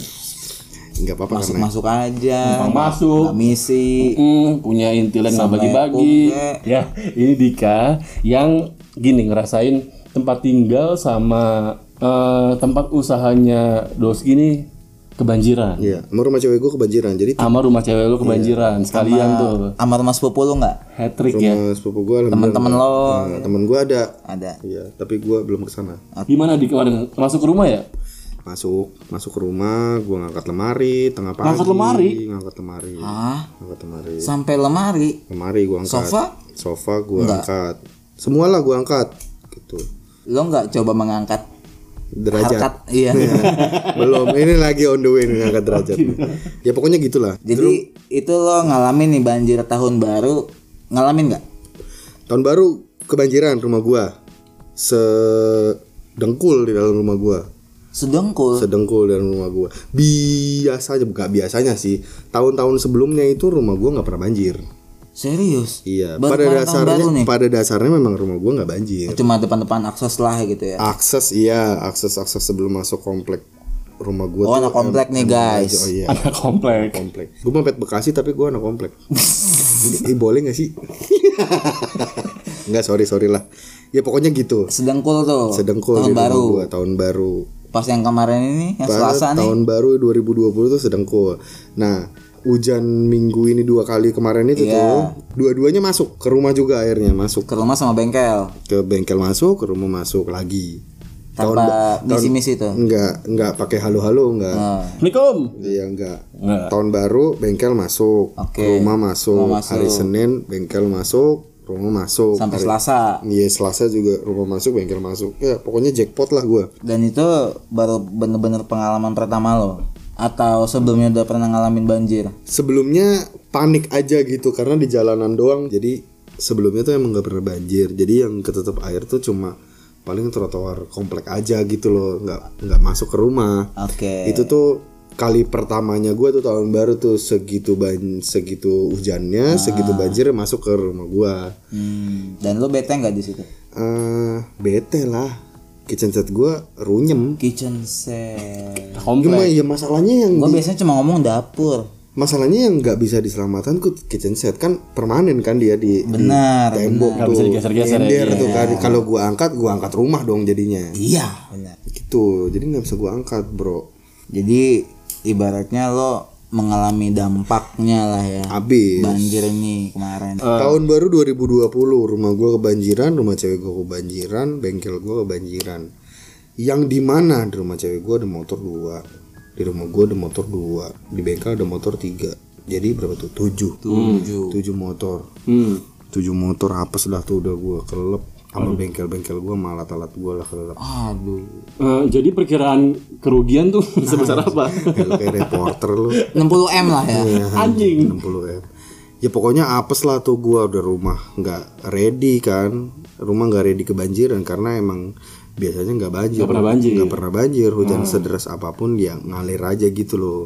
Enggak apa-apa Masuk karena masuk aja. Numpang masuk. Nggak Misi. Hmm, punya intilan nggak Sama bagi-bagi. Eko, Nek. Ya, ini Dika yang gini ngerasain tempat tinggal sama eh, tempat usahanya dos gini kebanjiran. Iya, sama rumah cewek gue kebanjiran. Jadi Sama rumah cewek lu kebanjiran sekalian tuh. Iya, Sama rumah sepupu lu enggak? Hat trick ya. rumah sepupu gue Iya. Temen-temen Iya, lo temen gue ada. ada. Iya, tapi gue belum kesana. Gimana di kemarin masuk ke (laughs) rumah ya? Masuk, masuk ke rumah, gue ngangkat lemari tengah pagi. Ngangkat lemari? Ngangkat lemari. Ah, Ngangkat lemari. sampai lemari. Lemari gue angkat. Sofa? Sofa gue angkat. Semualah gue angkat. Gitu. Lo nggak coba mengangkat Derajat. harkat iya. (laughs) belum. Ini lagi on the way nih ngangkat derajat. ya pokoknya gitulah. (laughs) Jadi itu lo ngalamin nih banjir tahun baru ngalamin nggak? Tahun baru kebanjiran rumah gue. Sedengkul di dalam rumah gue. Sedengkul. sedengkul dalam rumah gua biasanya bukan biasanya sih tahun-tahun sebelumnya itu rumah gua nggak pernah banjir Serius? iya Baru pada kemarin tahun dasarnya baru nih. Oh, pada dasarnya memang rumah gua nggak banjir Cuma depan-depan akses lah gitu ya. akses iya akses akses sebelum masuk komplek rumah gua Oh, tuh anak komplek nih, guys. oh iya Anak komplek. komplek gua mampet bekasi tapi gua anak komplek Ih, boleh nggak sih (laughs) nggak sorry sorry lah ya pokoknya gitu Sedengkul tuh. sedengkul tahun di rumah baru. gua tahun baru Pas yang kemarin ini yang Barat Nah, Selasa nih. tahun baru 2020 tuh sedengkul. Nah, hujan minggu ini dua kali kemarin itu Iya. tuh, dua-duanya masuk ke rumah juga airnya masuk ke rumah sama bengkel ke bengkel masuk, ke rumah masuk lagi. tanpa misi-misi tuh. Enggak, enggak pakai halo-halo enggak. Nah. Assalamualaikum. Iya, enggak. Enggak. Tahun baru bengkel masuk, Oke. rumah masuk. Rumah masuk. Hari Senin bengkel masuk, rumah masuk. Sampai Hari- Selasa. Iya, Selasa juga rumah masuk, bengkel masuk. Ya, pokoknya jackpot lah gua. Dan itu baru bener-bener pengalaman pertama lo atau sebelumnya udah pernah ngalamin banjir? sebelumnya panik aja gitu karena di jalanan doang jadi sebelumnya tuh emang nggak pernah banjir jadi yang ketutup air tuh cuma paling trotoar komplek aja gitu loh nggak nggak masuk ke rumah Oke. itu tuh kali pertamanya gue tuh tahun baru tuh segitu ban Ah. segitu hujannya segitu banjir masuk ke rumah gue Hmm, Dan lo bete nggak di situ? eh bete lah kitchen set gue runyem Kitchen set. gimana Komplek. ya masalahnya yang Gue di- biasanya cuma ngomong dapur. masalahnya yang nggak bisa diselamatkan ku kitchen set kan permanen kan dia di di Benar, tembok Nggak tuh bisa digeser-geser ya, ember tuh kan kalau gua angkat gua angkat rumah dong jadinya Iya, benar. gitu jadi nggak bisa gua angkat bro Jadi ibaratnya lo mengalami dampaknya lah ya. Nah, habis Banjir ini kemarin. eh. tahun baru 2020 rumah gua kebanjiran rumah cewek gua kebanjiran bengkel gua kebanjiran yang di mana di rumah cewek gua ada motor dua di rumah gue ada motor dua di bengkel ada motor tiga jadi berapa tuh tujuh Tujuh. tujuh motor Hmm. tujuh motor hapes lah tuh udah gue kelelep sama bengkel-bengkel gue sama alat-alat gue lah kelelep Aduh. Eh, jadi perkiraan kerugian tuh (laughs) sebesar Nah. apa? Ya, lu kayak reporter lu 60 M lah ya. Ya, Anjing. 60 M ya pokoknya apes lah tuh gua udah rumah nggak ready kan rumah nggak ready kebanjiran karena emang biasanya nggak banjir Nggak Hmm. pernah banjir. Nggak pernah banjir hujan sederas apapun ya ngalir aja gitu loh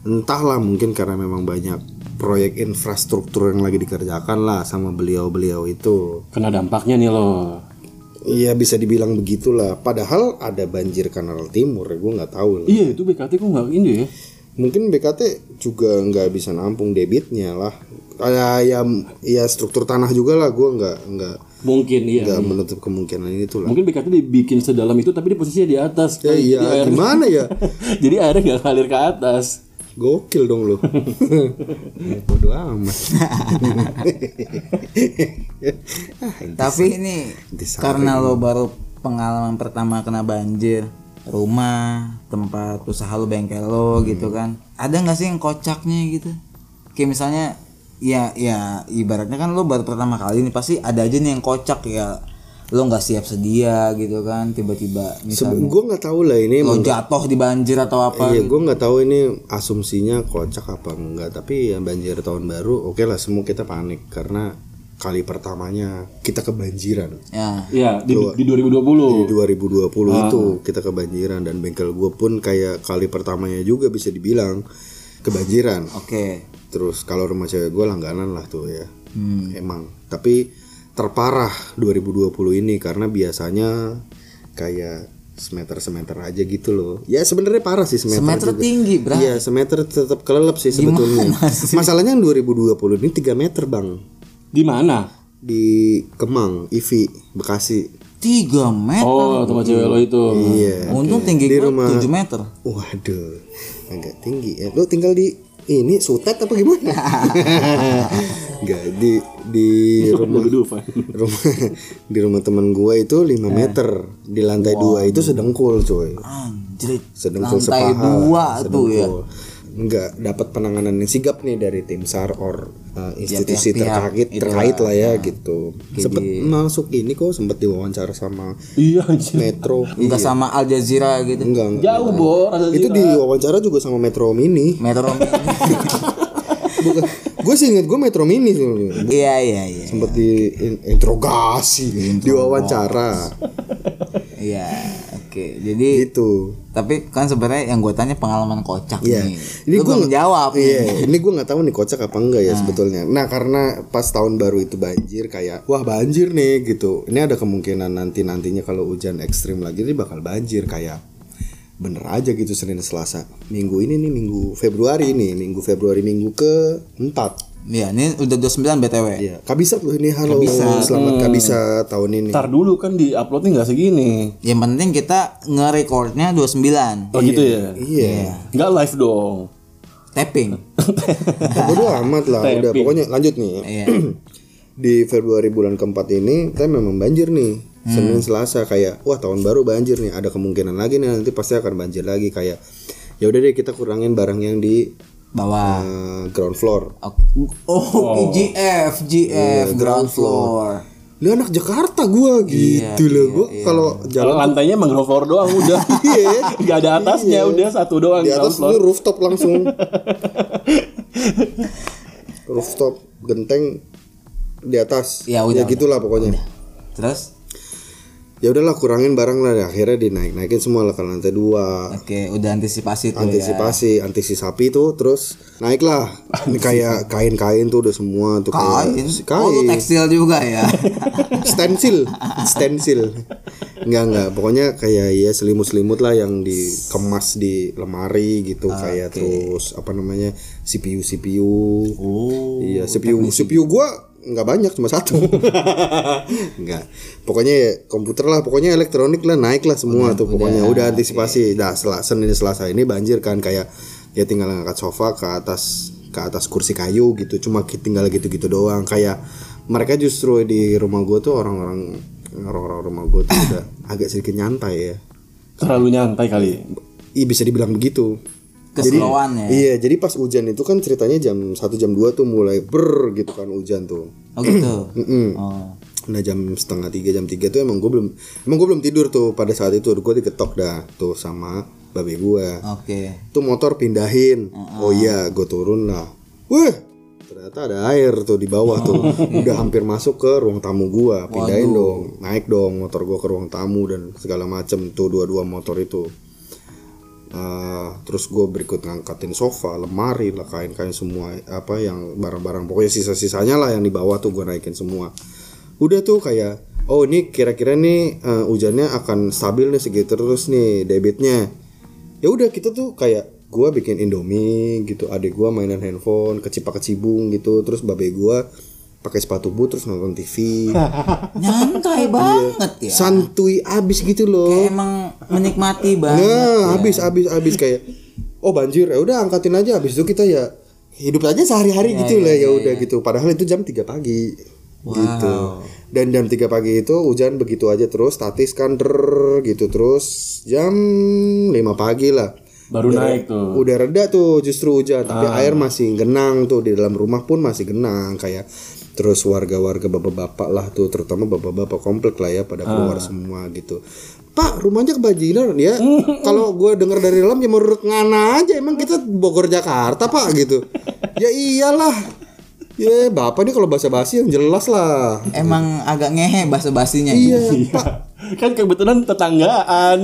entahlah mungkin karena memang banyak proyek infrastruktur yang lagi dikerjakan lah sama beliau-beliau itu Kena dampaknya nih lo. Iya bisa dibilang begitulah padahal ada banjir kanal timur gue nggak tahu lah. Iya itu BKT kok nggak ini ya? mungkin BKT juga nggak bisa nampung debitnya lah ada ya ya struktur tanah juga lah gue nggak nggak Mungkin iya. nggak menutup kemungkinan itu lah Mungkin BKT dibikin sedalam itu tapi di posisinya di atas. ya iya (laughs) Jadi air- gimana ya jadi airnya nggak ngalir ke atas. gokil dong (laughs) lo bodoh amat Tapi ini karena lo baru pengalaman pertama kena banjir, rumah, tempat usaha lo, bengkel Hmm. lo gitu kan. Ada nggak sih yang kocaknya gitu? Kayak misalnya ya ya ibaratnya kan lo baru pertama kali nih pasti ada aja nih yang kocak ya lo nggak siap sedia gitu kan tiba-tiba misalnya gue nggak tahu lah ini lo jatuh di banjir atau apa Iya, gue nggak tahu ini asumsinya kocak apa enggak, tapi yang banjir tahun baru, oke lah semua kita panik karena kali pertamanya kita kebanjiran. ya Iya di, di 2020. Di 2020 itu kita kebanjiran dan bengkel gue pun kayak kali pertamanya juga bisa dibilang kebanjiran. oke Terus kalau rumah cewek gue langganan lah tuh ya. Emang. Tapi terparah 2020 ini karena biasanya kayak semeter-semeter aja gitu loh. Ya sebenarnya parah sih semeter. Semeter juga. tinggi, Bra. Iya, semeter tetap kelelep sih sebetulnya. Masalahnya yang 2020 ini 3 meter, Bang. Di mana? Di Kemang, IVI, Bekasi. tiga meter Oh tempat cewek lo itu. Iya. untung tinggi Di gue rumah- 7 meter Waduh, agak tinggi ya. Lu tinggal di ini sutet apa (laughs) gimana? Enggak di di rumah Dudufan. rumah di rumah teman gua itu 5 Ah. meter di lantai dua itu sedengkul coy. Anjrit, Sedengkul lantai sepaha. dua tuh ya. Enggak dapat penanganan yang sigap nih dari tim SAR or uh, institusi Iya, pihak-pihak terkait terkait lah ya gitu. Sempet masuk ini kok sempet diwawancara (laughs) sama Iya anjir. Metro. Enggak sama Al Jazeera gitu. Iya. Enggak, enggak. Jauh bor. ada jarak. Itu kan. diwawancara juga sama Metro Mini. (laughs) Metro Mini. Bukan. gue sih inget gue Metro Mini sebenarnya. Iya iya iya. Sempet diinterogasi, diwawancara. Iya. Oke. Jadi Gitu. tapi kan sebenarnya yang gue tanya pengalaman kocak Iya. nih. Lu belum nggak- jawab. Iya, ini gue nggak tahu nih kocak apa enggak ya sebetulnya. Nah, karena pas tahun baru itu banjir kayak wah banjir nih gitu. Ini ada kemungkinan nanti-nantinya kalau hujan ekstrim lagi ini bakal banjir kayak bener aja gitu Senin Selasa. Minggu ini nih minggu Februari nih, minggu Februari minggu ke 4. Iya, ini udah 29 BTW. Iya, kabisat loh ini halo selamat kabisat tahun ini. Ntar dulu kan di uploadnya nggak segini. Yang penting kita nge-recordnya 29. Oh gitu ya. Iya. Nggak live (laughs) dong. Tapping. Bodoh amat lah udah pokoknya lanjut nih. Iya. (clears throat) Di Februari bulan keempat ini kita memang banjir nih. Senin Selasa kayak wah tahun baru banjir nih. Ada kemungkinan lagi nih nanti pasti akan banjir lagi kayak ya udah deh kita kurangin barang yang di Bawah. eh, ground floor. Oke. Oh, GF, GF Iya, ground floor. Lu anak Jakarta gua gitu loh gua kalau Kalau jalan lantainya emang ground floor doang udah. (laughs) Iya. Nggak ada atasnya udah satu doang di ground atas floor. lu rooftop (laughs) langsung rooftop genteng di atas Ya udah, gitulah pokoknya Terus ya udahlah kurangin barang lah akhirnya dinaik naikin semua lah ke lantai dua Oke, udah antisipasi tuh ya. Ah. antisipasi antisipasi sapi tuh terus naiklah Ini kayak kain-kain tuh udah semua tuh Kain. kayak Oh, lu kain tekstil juga (laughs) ya. (laughs) stensil stensil nggak nggak pokoknya kayak ya selimut-selimut lah yang dikemas di lemari gitu kayak terus apa namanya CPU CPU oh iya CPU CPU gua nggak banyak cuma satu (laughs) nggak pokoknya ya komputer lah pokoknya elektronik lah naik lah semua tuh pokoknya udah Iya, antisipasi dah setelah senin selasa ini banjir kan kayak ya tinggal ngangkat sofa ke atas ke atas kursi kayu gitu cuma ki- tinggal gitu-gitu doang kayak mereka justru di rumah gue tuh (clears throat) orang-orang orang-orang rumah gue tuh udah agak sedikit nyantai ya Terlalu nyantai kali. Iya bisa dibilang begitu. Keseluan ya. Iya, jadi pas hujan itu kan ceritanya jam 1 jam 2 tuh mulai ber gitu kan hujan tuh. Oh gitu. iya. Mm-mm. Oh. Nah jam setengah tiga jam tiga tuh emang gue belum emang gue belum tidur tuh pada saat itu gue diketok dah tuh sama babe gue Oke. tuh motor pindahin oh iya gue turun lah wah ternyata ada air tuh di bawah tuh udah hampir masuk ke ruang tamu gue pindahin dong naik dong motor gue ke ruang tamu dan segala macem tuh dua-dua motor itu Eh, terus gue berikut ngangkatin sofa, lemari lah, kain-kain semua apa yang barang-barang pokoknya sisa-sisanya lah yang di bawah tuh gue naikin semua. Udah tuh kayak oh ini kira-kira nih eh, hujannya akan stabil nih segitu terus nih debitnya. Ya udah kita tuh kayak gue bikin indomie gitu, adik gue mainan handphone, kecipak kecibung gitu, terus babe gue pakai sepatu boot terus nonton TV, Nyantai banget ya. santuy abis gitu loh. Kayak emang menikmati Iya. banget. Nah, habis habis habis kayak oh banjir ya udah angkatin aja habis itu kita ya hidup aja sehari-hari gitu lah ya udah gitu. Padahal itu jam 3 pagi. Gitu. Dan jam 3 pagi itu hujan begitu aja terus statis kan drrrr gitu terus jam 5 pagi lah. Baru Iya. naik tuh. (laughs) Udah reda tuh justru hujan, tapi air masih genang tuh di dalam rumah pun masih genang kayak terus warga-warga bapak-bapak lah tuh terutama bapak-bapak komplek lah ya pada keluar semua gitu. Pak, rumahnya kebajinan ya. Kalau gue dengar dari dalam ya menurut ngana aja emang kita Bogor Jakarta, Pak gitu. Ya iyalah. Ya, Bapak nih kalau bahasa-bahasa yang jelas lah. Emang agak ngehe gitu. bahasa-basinya. Iya, Pak. kan kebetulan tetanggaan.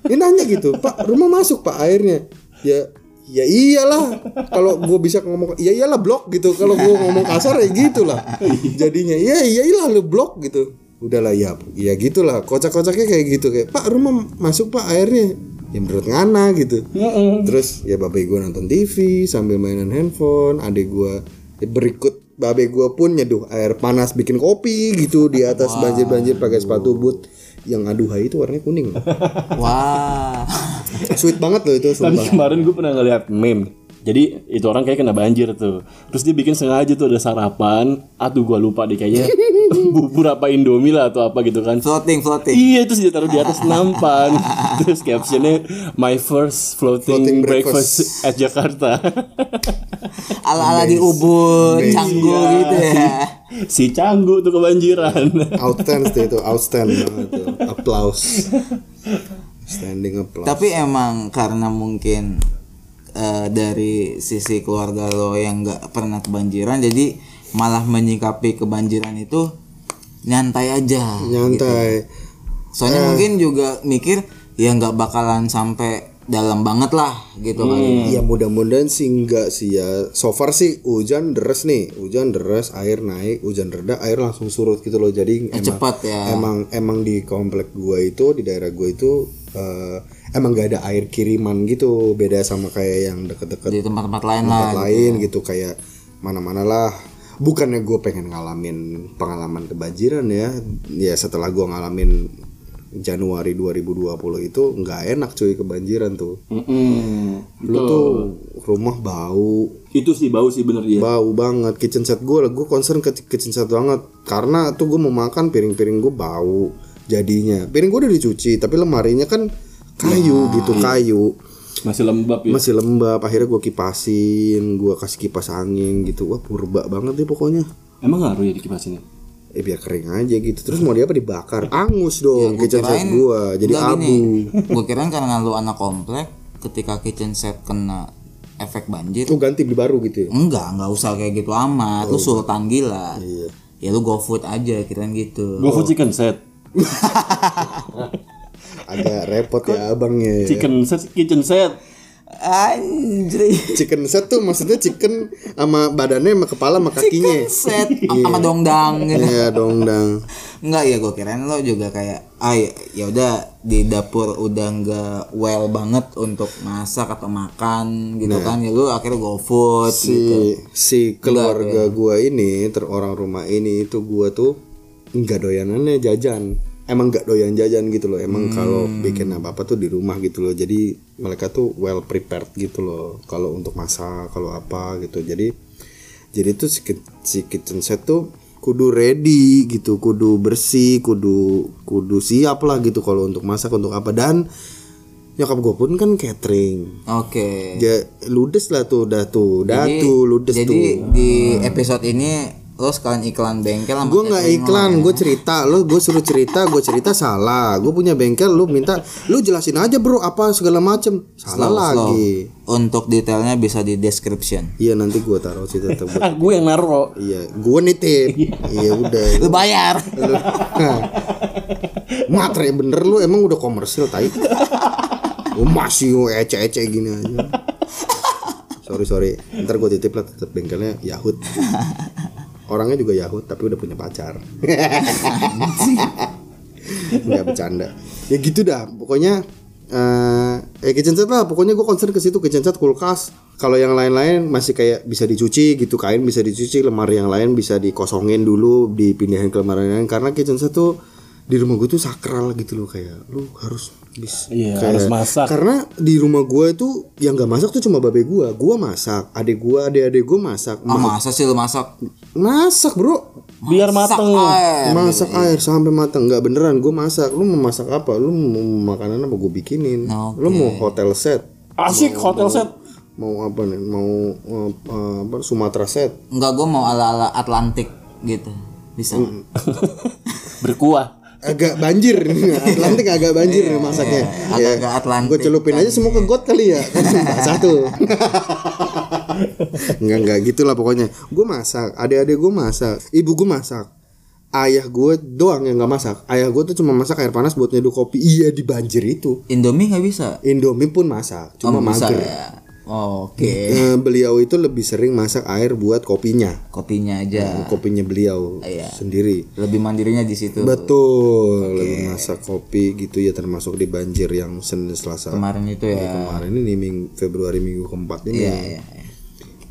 Dia nanya gitu, Pak, rumah masuk Pak airnya. Ya, ya iyalah. Kalau gue bisa ngomong, ya iyalah blok gitu. Kalau gue ngomong kasar ya gitulah. Jadinya, ya ya iyalah lu blok gitu. Udahlah ya, ya gitulah. Kocak-kocaknya kayak gitu kayak, Pak rumah masuk Pak airnya. Ya menurut ngana gitu. Terus ya babe gue nonton TV sambil mainan handphone, adik gue ya berikut babe gue pun nyeduh air panas bikin kopi gitu di atas banjir-banjir pakai sepatu boot yang aduhai itu warnanya kuning. Wah. (laughs) Sweet banget loh itu Tapi sumpah. kemarin gue pernah ngeliat meme. Jadi itu orang kayak kena banjir tuh. Terus dia bikin sengaja tuh ada sarapan. Aduh gua lupa deh kayaknya (laughs) bubur apa indomie lah atau apa gitu kan. floating, floating. Iya terus dia taruh di atas (laughs) nampan. terus captionnya my first floating, Floating breakfast. breakfast. at Jakarta. (laughs) Ala-ala di Ubud, Canggu Iya, gitu ya. si Canggu tuh kebanjiran. Outstand sih itu, outstand banget tuh. Applause. Standing applause. Tapi emang karena mungkin eh, dari sisi keluarga lo yang nggak pernah kebanjiran, jadi malah menyikapi kebanjiran itu nyantai aja. Nyantai. Eh. Soalnya mungkin juga mikir ya nggak bakalan sampai dalam banget lah gitu kali. Ya mudah-mudahan sih enggak sih ya. So far sih hujan deres nih, hujan deres, air naik, hujan reda, air langsung surut gitu loh. Jadi emang Cepat ya. emang emang di komplek gua itu di daerah gua itu eh, emang gak ada air kiriman gitu. Beda sama kayak yang deket-deket Di tempat-tempat lain lah. tempat lain gitu kayak mana-mana lah bukannya gue pengen ngalamin pengalaman kebanjiran ya ya setelah gue ngalamin Januari 2020 itu nggak enak cuy kebanjiran tuh lu tuh rumah bau Itu sih bau sih bener iya. dia. bau banget kitchen set gue gue concern ke kitchen set banget karena tuh gue mau makan piring-piring gue bau jadinya piring gue udah dicuci tapi lemarinya kan kayu gitu kayu Masih lembab ya. Iya. masih lembab akhirnya gue kipasin gue kasih kipas angin gitu wah purba banget deh pokoknya Emang ngaruh ya dikipasinnya? eh biar kering aja gitu terus mau dia apa dibakar angus dong kitchen set Iya, Kirain- gue jadi enggak, abu gini. Gua kirain karena lu anak komplek, ketika kitchen set kena efek banjir, tuh ganti beli baru gitu ya enggak, enggak usah kayak gitu amat. Lu sultan gila. Iya. Ya lu go food aja kirain gitu. GoFood chicken set. agak repot ya abangnya ya. Chicken set kitchen set. Anjir. chicken set tuh maksudnya chicken sama badannya sama kepala sama kakinya Chicken set sama dongdang gitu. Iya dong dang Enggak ya gue kirain lo juga kayak ah ya- ya udah di dapur udah enggak well banget untuk masak atau makan gitu kan ya lu akhirnya go food gitu. Iya. si si keluarga gua ini terorang rumah ini itu gua tuh nggak doyanannya jajan emang nggak doyan jajan gitu loh emang kalau bikin apa apa tuh di rumah gitu loh jadi mereka tuh well prepared gitu loh kalau untuk masak kalau apa gitu jadi jadi tuh si, ki- si kitchen set tuh kudu ready gitu kudu bersih kudu kudu siap lah gitu kalau untuk masak untuk apa dan nyokap gue pun kan catering Oke. ya ludes lah tuh udah tuh udah Jadi- tuh ludes jadi tuh di episode ini lo sekalian iklan bengkel sama gue nggak catering lo iklan ya. gue cerita lo gue suruh cerita gue cerita salah gue punya bengkel lu minta lu jelasin aja bro apa segala macem salah Slow, slow. lagi Untuk detailnya bisa di description. iya nanti gue taruh sih tetap buat- ah gue yang naro iya gue nitip iya udah Lu bayar. Nah, materai bener lu emang udah komersil (laughs) tai lu masih lu ece-ece gini aja sorry sorry ntar gue titip lah tetap bengkelnya Yahut orangnya juga Yahut tapi udah punya pacar nggak bercanda ya gitu dah pokoknya eh ya kitchen set lah pokoknya gue concern ke situ kitchen set kulkas kalau yang lain-lain masih kayak bisa dicuci gitu kain bisa dicuci lemari yang lain bisa dikosongin dulu dipindahin ke lemari yang lain karena kitchen set tuh di rumah gue tuh sakral gitu loh kayak lu harus bis Iya, kayak- harus masak. karena di rumah gue itu yang nggak masak tuh cuma babe gue gue masak adik gue adik-adik gue masak Ah, Ma- masa sih lu masak? masak bro biar mateng Masak air. masak air sampai matang nggak beneran gue masak lu mau masak apa lu mau makanan apa gue bikinin Oke. lu mau hotel set asik hotel set mau apa nih mau eh, eh, apa Sumatera set Enggak, gue mau ala-ala Atlantik gitu. Bisa. Mm. berkuah agak (laughs) banjir nih, Atlantik agak banjir nih masaknya iya. Agak-agak Atlantik gue celupin aja semua ke got kali (laughs) ya satu nggak nggak gitulah pokoknya gue masak adik-adik gue masak ibu gue masak ayah gue doang yang nggak masak ayah gue tuh cuma masak air panas buat nyeduh kopi iya di banjir itu Indomie nggak bisa. Indomie pun masak, Oh, cuma bisa mager. ya. Oke. Eh, beliau itu lebih sering masak air buat kopinya, Kopinya aja. kopinya beliau Iya. sendiri. Lebih mandirinya di situ. Betul, lebih masak kopi gitu ya termasuk di banjir yang Senin Selasa Kemarin itu ya. kemarin ini ming- Februari minggu keempat ini. Iya, iya, iya.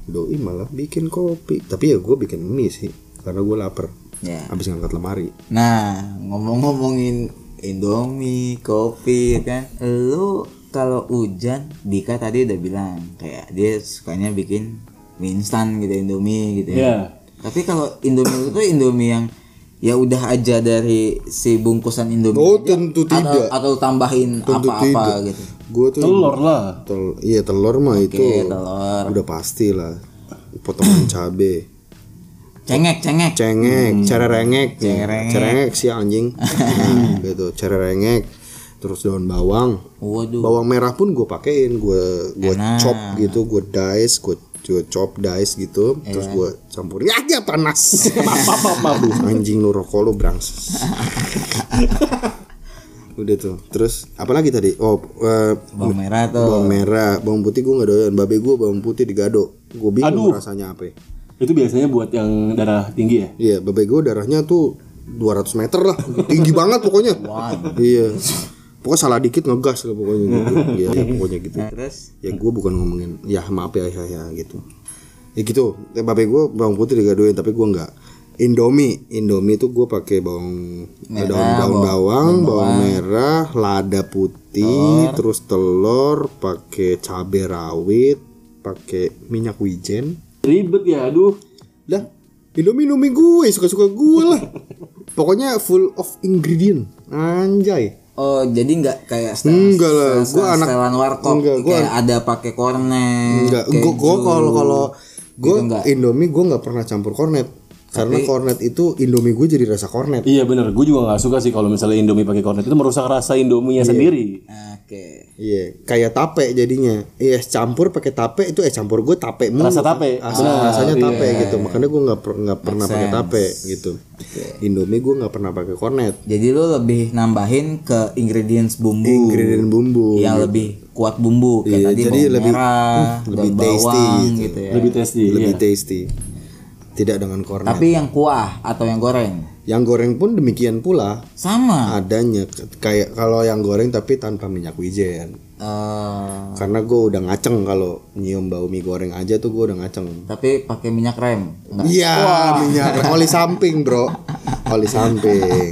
Doi malah bikin kopi, tapi ya gue bikin mie sih karena gue lapar. Ya. Abis ngangkat lemari. Nah, ngomong-ngomongin Indomie, kopi, ya kan? Lu kalau hujan, Dika tadi udah bilang kayak dia sukanya bikin mie instan gitu Indomie gitu ya. Iya. Tapi kalau Indomie itu tuh Indomie yang ya udah aja dari si bungkusan Indomie Oh, aja, tentu atau, tidak. atau tambahin apa-apa gitu. Gue tuh telur lah tel- iya telur mah itu Oke, telur. udah pasti lah (clears throat) potongan cabe. Cengek, cengek. cengek, Hmm. cererengek, cererengek sih (laughs) anjing, Nah, gitu, cererengek, terus daun bawang, Waduh. bawang merah pun gue pakein, gue gue chop gitu, gue dice, gue gue chop dice gitu, terus gue campurin aja panas, Aduh, anjing lu rokok lu brangs, udah tuh, terus apalagi tadi, oh eh, Bawang merah tuh. bawang merah, bawang putih gue nggak doyan, babe gue bawang putih digado, gue bingung rasanya apa. ya. itu biasanya buat yang darah tinggi ya Iya, babe gue darahnya tuh 200 meter lah, tinggi banget pokoknya. Iya. Pokoknya salah dikit ngegas lah pokoknya gitu. Iya, (laughs) ya, pokoknya gitu. Terus Ya gue bukan ngomongin ya maaf ya ya, ya gitu. Ya gitu, Eh, babe gue bawang putih digadoin tapi gue nggak. Indomie, Indomie tuh gue pakai bawang daun daun bawang, bawang merah, lada putih, terus telur, pakai cabai rawit, pakai minyak wijen. ribet ya aduh Lah, Indomie Indomie gue, suka-suka gue lah. Pokoknya full of ingredient. Anjay. Oh jadi nggak kayak Enggak lah, gua anak- setelan warkop enggak, gua kayak ada pakai kornet. Enggak, gue gue keju. kalau kalau gue Gitu enggak? Indomie gue nggak pernah campur kornet. Karena kornet itu Indomie gue jadi rasa kornet. iya bener gue juga nggak suka sih kalau misalnya indomie pakai kornet itu merusak rasa indominya sendiri Oke. Iya, kayak tape jadinya. Iya, es campur pakai tape itu es campur gue tape mulu. Rasa tape. Rasa- rasanya Iya, tape gitu. Makanya gue nggak per- nggak pernah pakai tape gitu. Iya. Indomie gue nggak pernah pakai kornet. Jadi lu lebih nambahin ke ingredients bumbu Iya, Ingredient bumbu. Iya, yang lebih kuat bumbu kayak tadi jadi bawang lebih- hmm, merah, lebih daun tasty bawang gitu. gitu, ya. lebih tasty lebih iya. tasty. Tidak dengan kornet. Tapi yang kuah atau yang goreng Yang goreng pun demikian pula sama. adanya K- kayak kalau yang goreng tapi tanpa minyak wijen. Eh, Karena gue udah ngaceng kalau nyium bau mie goreng aja tuh gue udah ngaceng. tapi pakai minyak rem. Enggak. Iya, minyak oli samping, Bro. Oli samping.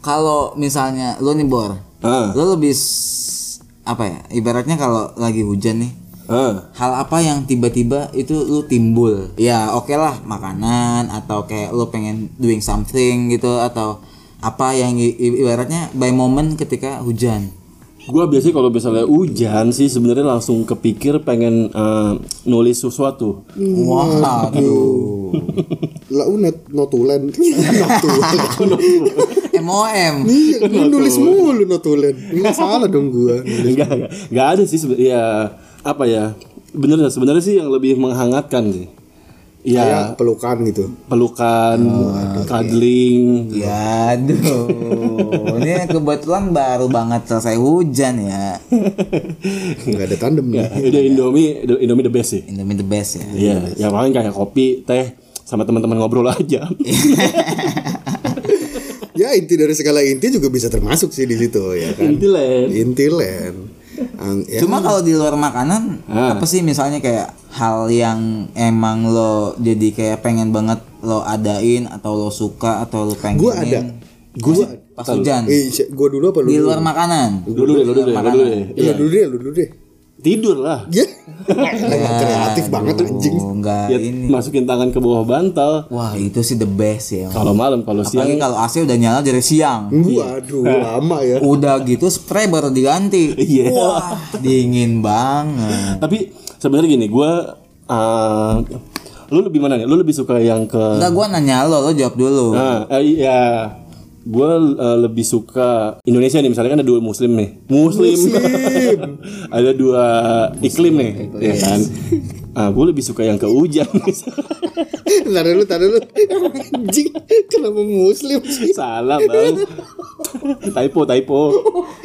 Kalau misalnya lu nih bor, Ah, lu lebih s- apa ya? Ibaratnya kalau lagi hujan nih, ah. hal apa yang tiba-tiba itu lu timbul ya oke lah makanan atau kayak lu pengen doing something gitu atau apa yang i- i- ibaratnya by moment ketika hujan Gua biasanya kalau misalnya hujan sih sebenarnya langsung kepikir pengen eh, nulis sesuatu. (laughs) Waduh. lah unet notulen (laughs) notulen MOM. iya gua nulis mulu notulen nggak salah dong gua Enggak, enggak, enggak ada sih sebenarnya ya apa ya? Bener sebenarnya sih yang lebih menghangatkan sih. Ya kayak pelukan gitu pelukan, cuddling. Ya aduh. Ini kebetulan baru banget selesai hujan ya. nggak ada tandem Ya, (laughs) nih udah Indomie, Indomie the best sih. Indomie the best ya. Iya, yang paling kayak kopi, teh, sama teman-teman ngobrol (laughs) aja. ya inti dari segala inti juga bisa termasuk sih di situ ya kan Inti lah. Iya. inti len Ang- ya, Cuma kalau di luar makanan iya. Ah. apa sih misalnya kayak hal yang emang lo jadi kayak pengen banget lo adain atau lo suka atau lo pengenin Gua ada. Gue pas hujan eh, gue dulu apa Hmm. lu di dulu? luar iya. makanan. dulu deh, lu dulu deh, lu dulu deh. Ya, lu dulu deh, lu dulu deh. Tidur lah. (laughs) Ya, Lah, (laughs) kreatif banget anjing. Oh, enggak Ya, Iya. ini. masukin tangan ke bawah bantal. Wah, itu sih the best ya. Kalau malam, kalau siang. Apalagi kalau AC udah nyala dari siang. Waduh, lama ya. (laughs) Udah gitu spray baru diganti. Iya. Wah, dingin banget. Tapi sebenarnya gini, gue lu lebih mana nih? Lu lebih suka yang ke Enggak gua nanya lo, lo jawab dulu. Nah, eh, iya. Gue lebih suka Indonesia nih misalnya kan ada dua muslim nih. Muslim. (laughs) ada dua iklim nih, ya kan. Ah, gue lebih suka yang ke (laughs) hujan Ntar dulu, ntar dulu. Anjing, kenapa muslim sih? Salah, Bang. typo, typo.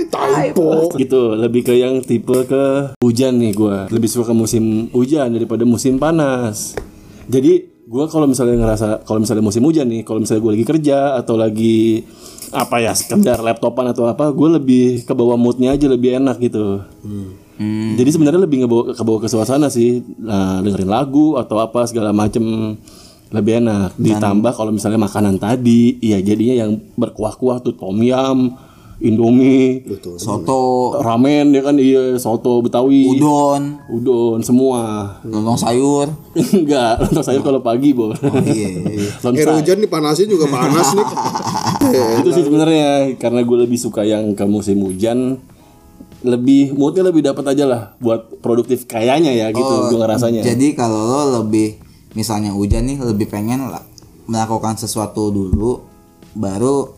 Typo. gitu lebih ke yang tipe ke hujan nih gua lebih suka ke musim hujan daripada musim panas jadi gua kalau misalnya ngerasa kalau misalnya musim hujan nih kalau misalnya gua lagi kerja atau lagi apa ya sekedar laptopan atau apa gua lebih ke bawah moodnya aja lebih enak gitu Hmm, Hmm. jadi sebenarnya lebih ngebawa ke bawah ke suasana sih Nah, dengerin lagu atau apa segala macem lebih enak ditambah kalau misalnya makanan tadi iya jadinya yang berkuah-kuah tuh tom yum indomie Soto, ramen ya kan iya soto betawi udon, udon semua (laughs) lontong sayur. enggak lontong sayur kalau pagi bor (laughs) Iya. ya, Air lontong hujan Eh, dipanasin juga panas (laughs) nih. itu sih sebenarnya karena gue lebih suka yang ke musim hujan lebih moodnya lebih dapat aja lah buat produktif kayaknya ya gitu gue ngerasanya Oh, Jadi kalau lo lebih misalnya hujan nih lebih pengen la- melakukan sesuatu dulu baru (laughs)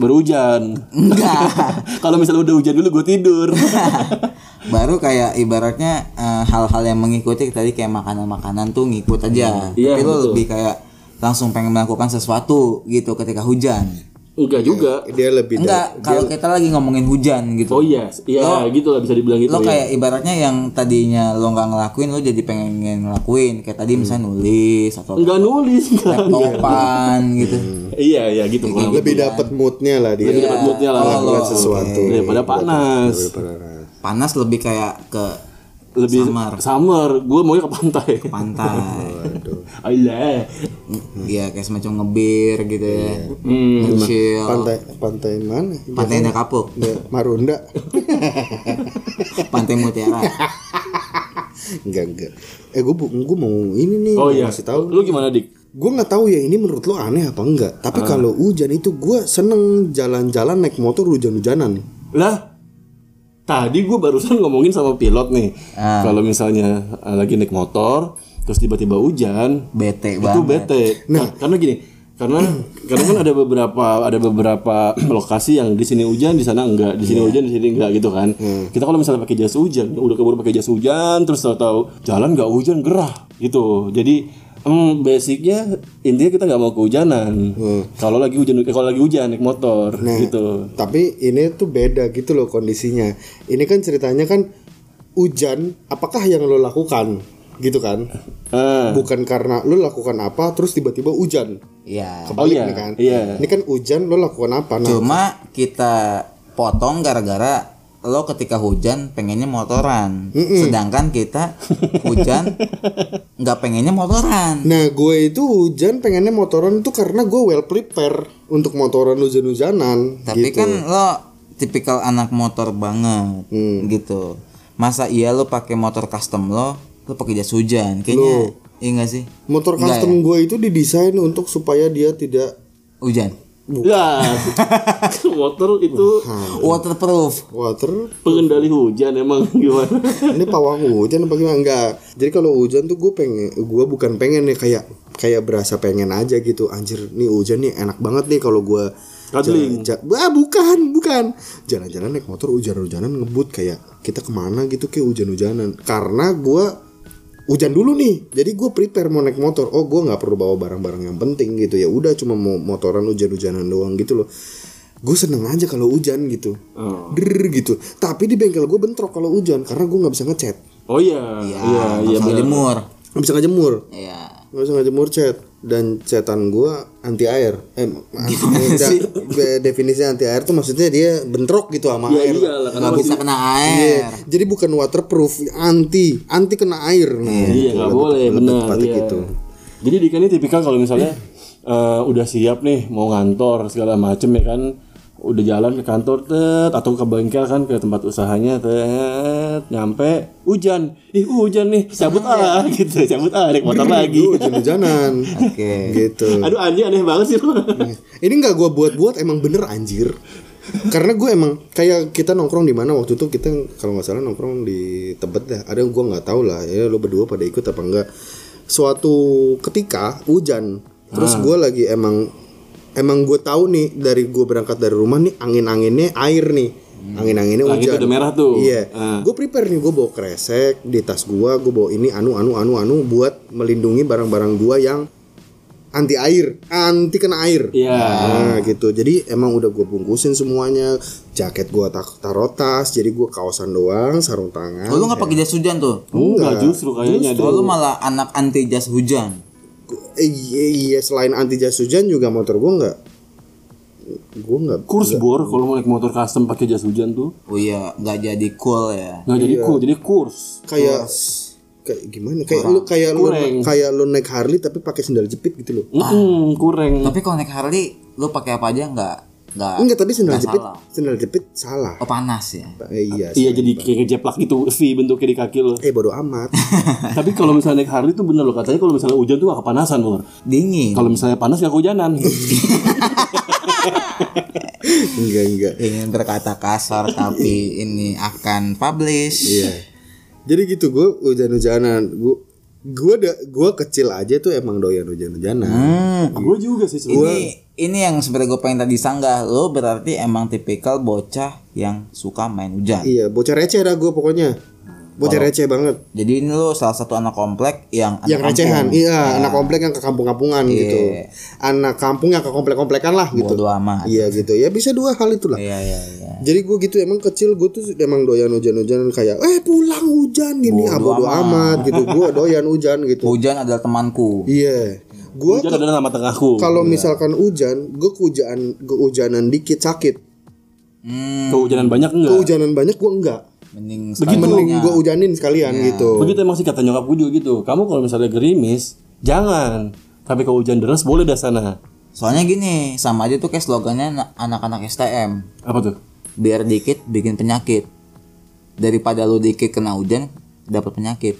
berhujan enggak (laughs) kalau misalnya udah hujan dulu gue tidur baru kayak ibaratnya eh, hal-hal yang mengikuti tadi kayak makanan-makanan tuh ngikut aja. Iya, Tapi lo betul. lebih kayak langsung pengen melakukan sesuatu gitu ketika hujan. (laughs) enggak juga Dia lebih Enggak, kalau kita lagi ngomongin hujan gitu. Gitu. Iya. oh iya iya gitu lah bisa dibilang gitu lo ya kayak ibaratnya yang tadinya lo nggak ngelakuin lo jadi pengen ngelakuin kayak tadi misalnya nulis atau enggak nulis enggak laptopan gitu iya iya oh, gitu da- kurang lebih dapat moodnya lah dia. Iya. lebih dapat moodnya lah Melakukan sesuatu. daripada panas Daripada- panas lebih kayak ke lebih Summer. summer, gue maunya ke pantai (laughs) Oh, iya. pantai Aduh. Ayolah. ya kayak semacam ngebir gitu ya Hmm. chill Pantai pantai mana? pantai indah kapuk Ya, Marunda. (laughs) pantai mutiara Enggak, enggak. Eh, gue gue mau ini nih. Oh mau iya, Kasih tahu. lu gimana dik? Gue nggak tahu ya ini menurut lo aneh apa enggak. Ah. Tapi kalau hujan itu gue seneng jalan-jalan naik motor hujan-hujanan. Lah, tadi gue barusan ngomongin sama pilot nih, kalau misalnya eh, lagi naik motor, terus tiba-tiba hujan, itu bete banget bete. Nah, karena gini, karena karena kan ada beberapa ada beberapa (clears throat) lokasi yang di sini hujan, di sana enggak, di sini hujan, di sini enggak gitu kan. Kita kalau misalnya pakai jas hujan, udah keburu pakai jas hujan, terus tahu jalan nggak hujan gerah gitu. Jadi em, basicnya intinya kita nggak mau kehujanan. Kalau lagi hujan, eh, kalau lagi hujan naik motor gitu. Tapi ini tuh beda gitu loh kondisinya. Ini kan ceritanya kan hujan. Apakah yang lo lakukan? Gitu kan? Ah, Bukan karena lo lakukan apa terus tiba-tiba hujan. ya Kebalik Oh iya, nih kan? iya. Ini kan hujan lo lakukan apa? Nah, cuma kita potong gara-gara lo ketika hujan pengennya motoran sedangkan kita hujan nggak pengennya motoran Nah gue itu hujan pengennya motoran tuh karena gue well prepare untuk motoran hujan-hujanan Tapi gitu. kan lo tipikal anak motor banget gitu. Masa iya lo pakai motor custom lo, lo pakai jas hujan. Kayaknya iya gak sih? Motor Enggak custom gue itu didesain untuk supaya dia tidak Hujan. Ya, (laughs) motor itu waterproof water pengendali hujan emang (laughs) gimana? ini pawang hujan apa gimana enggak jadi kalau hujan tuh gue pengen gue bukan pengen ya kayak kayak berasa pengen aja gitu anjir nih hujan nih enak banget nih kalau gue Cuddling. jalan- ja- ah, bukan bukan jalan-jalan naik motor hujan-hujanan ngebut kayak kita kemana gitu kayak hujan-hujanan karena gue hujan dulu nih jadi gue prepare mau naik motor oh gue nggak perlu bawa barang-barang yang penting gitu ya udah cuma mau motoran hujan-hujanan doang gitu loh gue seneng aja kalau hujan gitu Oh. Drrrr gitu tapi di bengkel gue bentrok kalau hujan karena gue nggak bisa ngechat Oh iya, iya, ya, iya benar. masalah jemur nggak bisa ngejemur ya nggak bisa ngejemur chat dan chatan gue anti air eh anti, sih? da- definisi anti air tuh maksudnya dia bentrok gitu sama Iya air iyalah karena nggak masih bisa kena Iya, air jadi bukan waterproof anti anti kena air Nah, Iya gitu, nggak lebih- boleh lebih benar. tepatnya Iya. gitu Jadi Dika ini tipikal kalau misalnya eh, udah siap nih mau ngantor segala macem ya kan udah jalan ke kantor tet atau ke bengkel kan ke tempat usahanya tet nyampe hujan ih hujan nih cabut ah (laughs) gitu cabut ah naik motor lagi (laughs) hujan-hujanan Oke. gitu aduh anjing aneh banget sih lu Iya. ini nggak gue buat-buat emang bener anjir karena gue emang kayak kita nongkrong di mana waktu itu kita kalau nggak salah nongkrong di tebet dah ada gue nggak tahu lah ya lo berdua pada ikut apa enggak suatu ketika hujan terus Ah. gue lagi emang emang gue tahu nih dari gue berangkat dari rumah nih angin anginnya air nih angin anginnya Langit hujan udah merah Hmm. tuh. iya Ah. gue prepare nih gue bawa kresek di tas gue gue bawa ini anu anu anu anu buat melindungi barang-barang gue yang anti air anti kena air Iya. Nah, gitu. Jadi emang udah gue bungkusin semuanya. Jaket gue tak taruh tas, jadi gue kaosan doang, sarung tangan. oh, lu nggak pakai jas hujan tuh Enggak justru kayaknya oh, deh. lu malah anak anti jas hujan Eh, iya, iya, selain anti jas hujan juga motor gue nggak, gue nggak. Kurs bor kalau mau naik motor custom pakai jas hujan tuh oh iya nggak jadi cool ya nggak jadi cool jadi kurs. Kayak kayak gimana? Kayak lu kayak lu Kurang. kayak lu naik Harley tapi pakai sendal jepit gitu loh. Mm, kurang. tapi kalau naik Harley lu pakai apa aja nggak nggak Enggak tapi sendal nggak jepit, salah. sendal jepit salah. oh panas ya Eh, iya. Iya jadi kayak ngejeplak gitu V bentuknya di kaki lo. Eh bodoh amat. (laughs) Tapi kalau misalnya naik Harley itu bener loh katanya kalau misalnya hujan tuh gak kepanasan Bor. dingin Kalau misalnya panas gak kehujanan. enggak enggak. ingin Iya, berkata (laughs) kasar tapi ini akan publish Iya. Jadi gitu gue hujan-hujanan. Gue gue da, gua kecil aja tuh emang doyan hujan-hujanan. Hmm. gue juga sih sebenarnya. ini ini yang sebenarnya gue pengen tadi sanggah lo berarti emang tipikal bocah yang suka main hujan Iya, bocah receh dah gue pokoknya. Bocah receh banget. jadi ini lo salah satu anak komplek yang anak yang recehan, iya, anak komplek yang ke kampung-kampungan gitu. Anak kampung yang ke komplek-komplekan lah gitu. bodo amat Iya gitu. Ya bisa dua hal itulah. iya iya iya Jadi gue gitu emang kecil gue tuh emang doyan hujan-hujanan kayak eh pulang hujan gini ah bodo amat gitu. Gue doyan hujan (laughs) gitu. hujan adalah temanku Iya. Gue Hujan adalah nama tengahku. kalau Iya. misalkan hujan, gue kehujaan kehujanan dikit sakit. Kehujanan banyak Iya. enggak? kehujanan banyak gue enggak Hmm, mending mending Iya. gue hujanin sekalian gitu Begitu emang sih kata nyokap gue juga gitu. Kamu kalau misalnya gerimis jangan. Tapi kalau hujan deras boleh dah sana. soalnya gini sama aja tuh kayak slogannya na- anak-anak STM Apa tuh? biar dikit bikin penyakit daripada lu dikit kena hujan dapat penyakit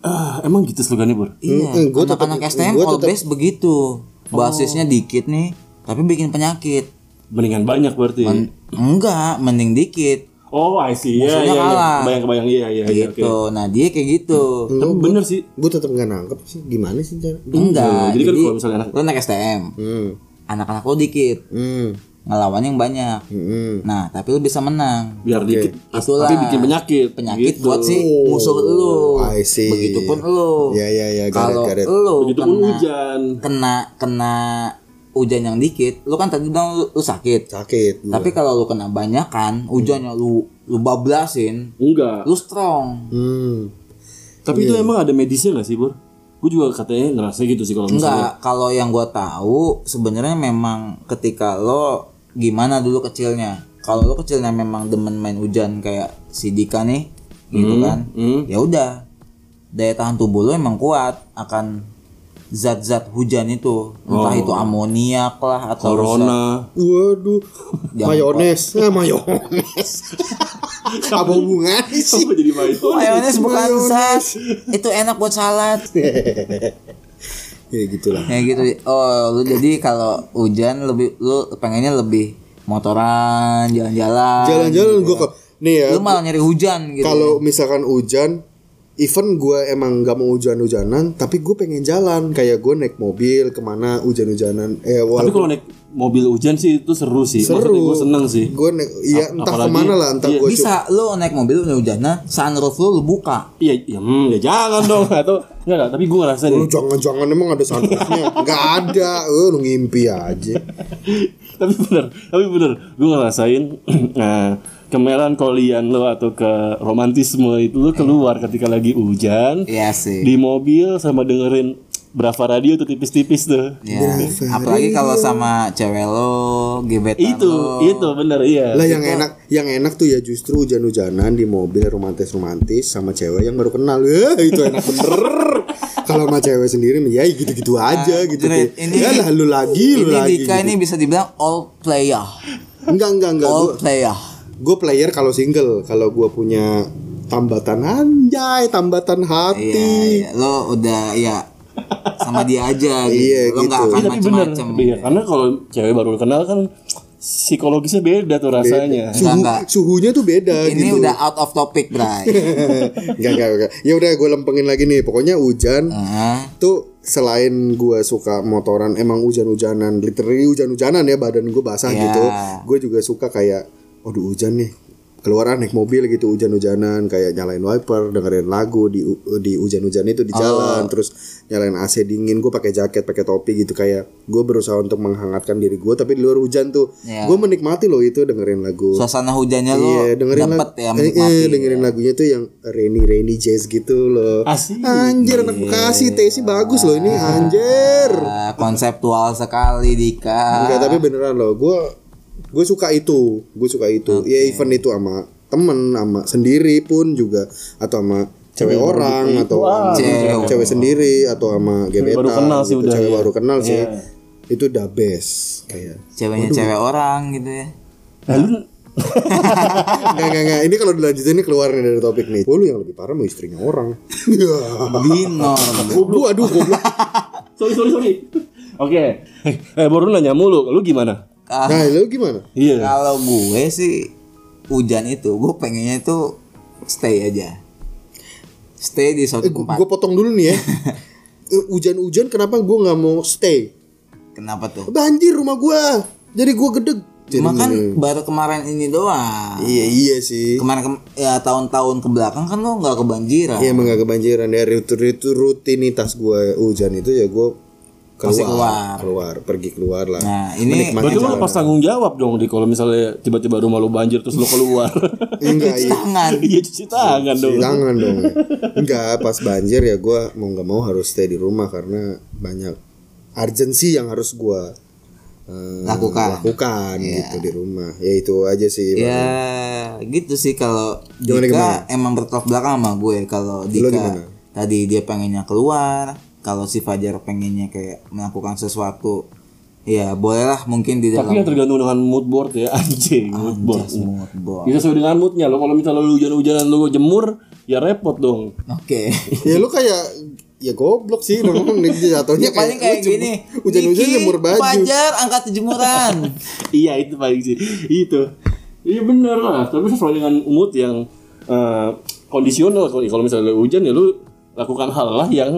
Ah, emang gitu slogannya Bor. Iya, Mm, gua tetap- anak-anak STM gua all base begitu. Oh. Basisnya dikit nih, tapi bikin penyakit. Mendingan banyak berarti. Men- enggak, mending dikit oh, I see. Iya, Musuhnya iya, iya. kalah. Kebayang-kebayang iya, iya, iya. oke. gitu. Nah, dia kayak gitu. Tapi bener sih. gue tetap nggak nangkep sih gimana sih cara Enggak. Jadi kan kalau misalnya anak- lu naik STM, hmm anak-anak lu dikit, hmm ngelawan yang banyak. hmm Nah, tapi lu bisa menang. Biar dikit. Itulah. Tapi bikin penyakit. Penyakit Gitu. buat si musuh lu. I see. Begitupun lu. Ya, Iya, iya, iya, got it, Kalau got it. lu Begitu pun kena, gitu hujan. kena kena hujan yang dikit, lu kan tadi bilang lu- lu sakit. sakit gua. Iya. Tapi kalau lu kena banyak kan, Hmm. hujannya lu lu bablasin, Enggak. lu strong. hmm Tapi itu emang ada medisnya gak sih, Bur? Gue juga katanya ngerasa gitu sih kalau misalnya. Enggak, kalau yang gua tahu sebenarnya memang ketika lo gimana dulu kecilnya. Kalau lo kecilnya memang demen main hujan kayak si Dika nih, gitu kan. hmm. Ya udah. Daya tahan tubuh lo emang kuat akan zat-zat hujan itu. Entah itu amoniak lah atau zat- Oh. (laughs) Corona. waduh Jangan mayones ah (laughs) mayones apa hubungannya sih Apa Oh, iya. jadi main? (laughs) Mayones bukan zat. Itu enak buat salad. ya gitulah ya gitu oh lu jadi kalau hujan lebih lu pengennya lebih motoran jalan-jalan jalan-jalan Iya. gue kok nih ya lu malah nyari hujan gitu kalau misalkan hujan even gue emang gak mau hujan-hujanan tapi gue pengen jalan kayak gue naik mobil kemana hujan-hujanan Tapi eh walaupun kalau naik mobil hujan sih itu seru sih. Maksudnya gue seneng sih. gue naik iya Ap- entah apalagi- kemana lah entah iya, gue bisa lu naik mobil udah hujanan sunroof lu lu buka Iya, iya, hmm, ya jangan dong. Atau enggak, enggak, tapi gue ngerasa nih. lu jangan-jangan emang ada sunroofnya nggak ada eh, lu ngimpi aja (laughs) tapi bener, tapi bener. Gue ngerasain (clears throat) nah, kemelancholian lo atau ke romantisme itu lo keluar ketika lagi hujan iya sih di mobil sama dengerin Brava radio tuh tipis-tipis tuh. ya. apalagi kalau sama cewek lo gebetan Itu, lo. itu bener iya. lah yang enak yang enak tuh ya justru hujan-hujanan di mobil romantis-romantis sama cewek yang baru kenal eh, itu (laughs) enak bener kalau sama cewek sendiri ya gitu-gitu aja gitu Jret, Ki. Ah, ini- ya lah lu lagi gitu. lu ini lagi Dika ini Oh, bisa dibilang all player enggak enggak enggak all player gue player kalau single kalau gue punya tambatan anjay tambatan iya, hati iya. lo udah ya sama dia aja gitu (laughs) Iya, lo nggak Iya, akan gitu. tapi bener. macem-macem Tapi ya, karena kalau cewek baru kenal kan psikologisnya beda tuh rasanya. suhu enggak. suhunya tuh beda ini gitu udah out of topic bray (laughs) enggak enggak enggak ya udah gue lempengin lagi nih pokoknya hujan Heeh. tuh selain gue suka motoran emang hujan-hujanan literally hujan-hujanan ya badan gue basah Iya. gitu gue juga suka kayak aduh hujan nih keluaran naik mobil gitu hujan-hujanan kayak nyalain wiper dengerin lagu di di hujan-hujan itu di Oh. jalan terus nyalain AC dingin gue pakai jaket pakai topi gitu kayak gue berusaha untuk menghangatkan diri gue tapi di luar hujan tuh Iya. gue menikmati loh itu dengerin lagu suasana hujannya lo Iya, dengerin dapet lag- ya eh, menikmati eh, dengerin lagunya tuh yang rainy rainy jazz gitu loh. Asik. Anjir anak Bekasi, Tesi bagus loh ini anjir. Ah, konseptual sekali Dika Enggak, tapi beneran loh. Gua gue suka itu. Gue suka itu. Ya event itu sama temen sama sendiri pun juga atau sama cewek Iya, orang atau sama Cewek. cewek sendiri atau sama gebetan baru kenal sih gitu. udah, cewek ya. baru kenal sih Iya. itu the best kayak ceweknya cewek orang gitu ya Nah, lu- Enggak, enggak, enggak. Ini kalau dilanjutin ini keluar nih dari topik nih. Oh, lu yang lebih parah mau istrinya orang. (laughs) Iya. binor Goblok, aduh goblok. sorry, sorry, sorry. Oke. Eh, baru nanya mulu, lu gimana? Ah, Nah, lu gimana? Iya. kalau gue sih hujan itu gue pengennya itu stay aja stay di suatu tempat Gue Eh, potong dulu (laughs) nih ya. Eh, Hujan-hujan kenapa gue nggak mau stay? kenapa tuh Banjir rumah gue. Jadi gue gedeg. Jadi- cuma kan baru kemarin ini doang Iya iya sih. kemarin kem- ya tahun-tahun kebelakang kan lo nggak kebanjiran Iya emang nggak kebanjiran dari itu rutinitas gue hujan itu ya gue Pasti keluar, keluar. keluar pergi keluar lah. nah ini Menikmati Berarti lu jalanan. lepas tanggung jawab dong di kalau misalnya tiba-tiba rumah lu banjir terus lu keluar. (laughs) (laughs) Enggak iya. tangan Iya cuci tangan dong. Cuci tangan dong. Enggak, pas banjir ya gue mau nggak mau harus stay di rumah karena banyak urgency yang harus gue Lakukan. Iya. lakukan gitu di rumah. Ya itu aja sih. Bang. ya gitu sih kalau Dika Iya. Gimana, gimana? emang bertolak belakang sama gue kalau gimana? Dika tadi dia pengennya keluar kalau si Fajar pengennya kayak melakukan sesuatu ya bolehlah mungkin di Tapi dalam kan tergantung dengan mood board ya (laughs) anjing mood board. just mood board. Itu sesuai dengan moodnya lo. Kalau misalnya lu hujan-hujanan lu jemur ya repot dong. oke Ya lu kayak ya goblok sih memang nih jatuhnya (laughs) ya paling kayak lu cuma- gini Hujan-hujan "Niki, nyemur baju. Fajar angkat (laughs) jemuran iya itu paling sih itu iya bener lah tapi sesuai dengan mood yang eh, kondisional kalau kalau misalnya lu hujan ya lu lakukan hal lah yang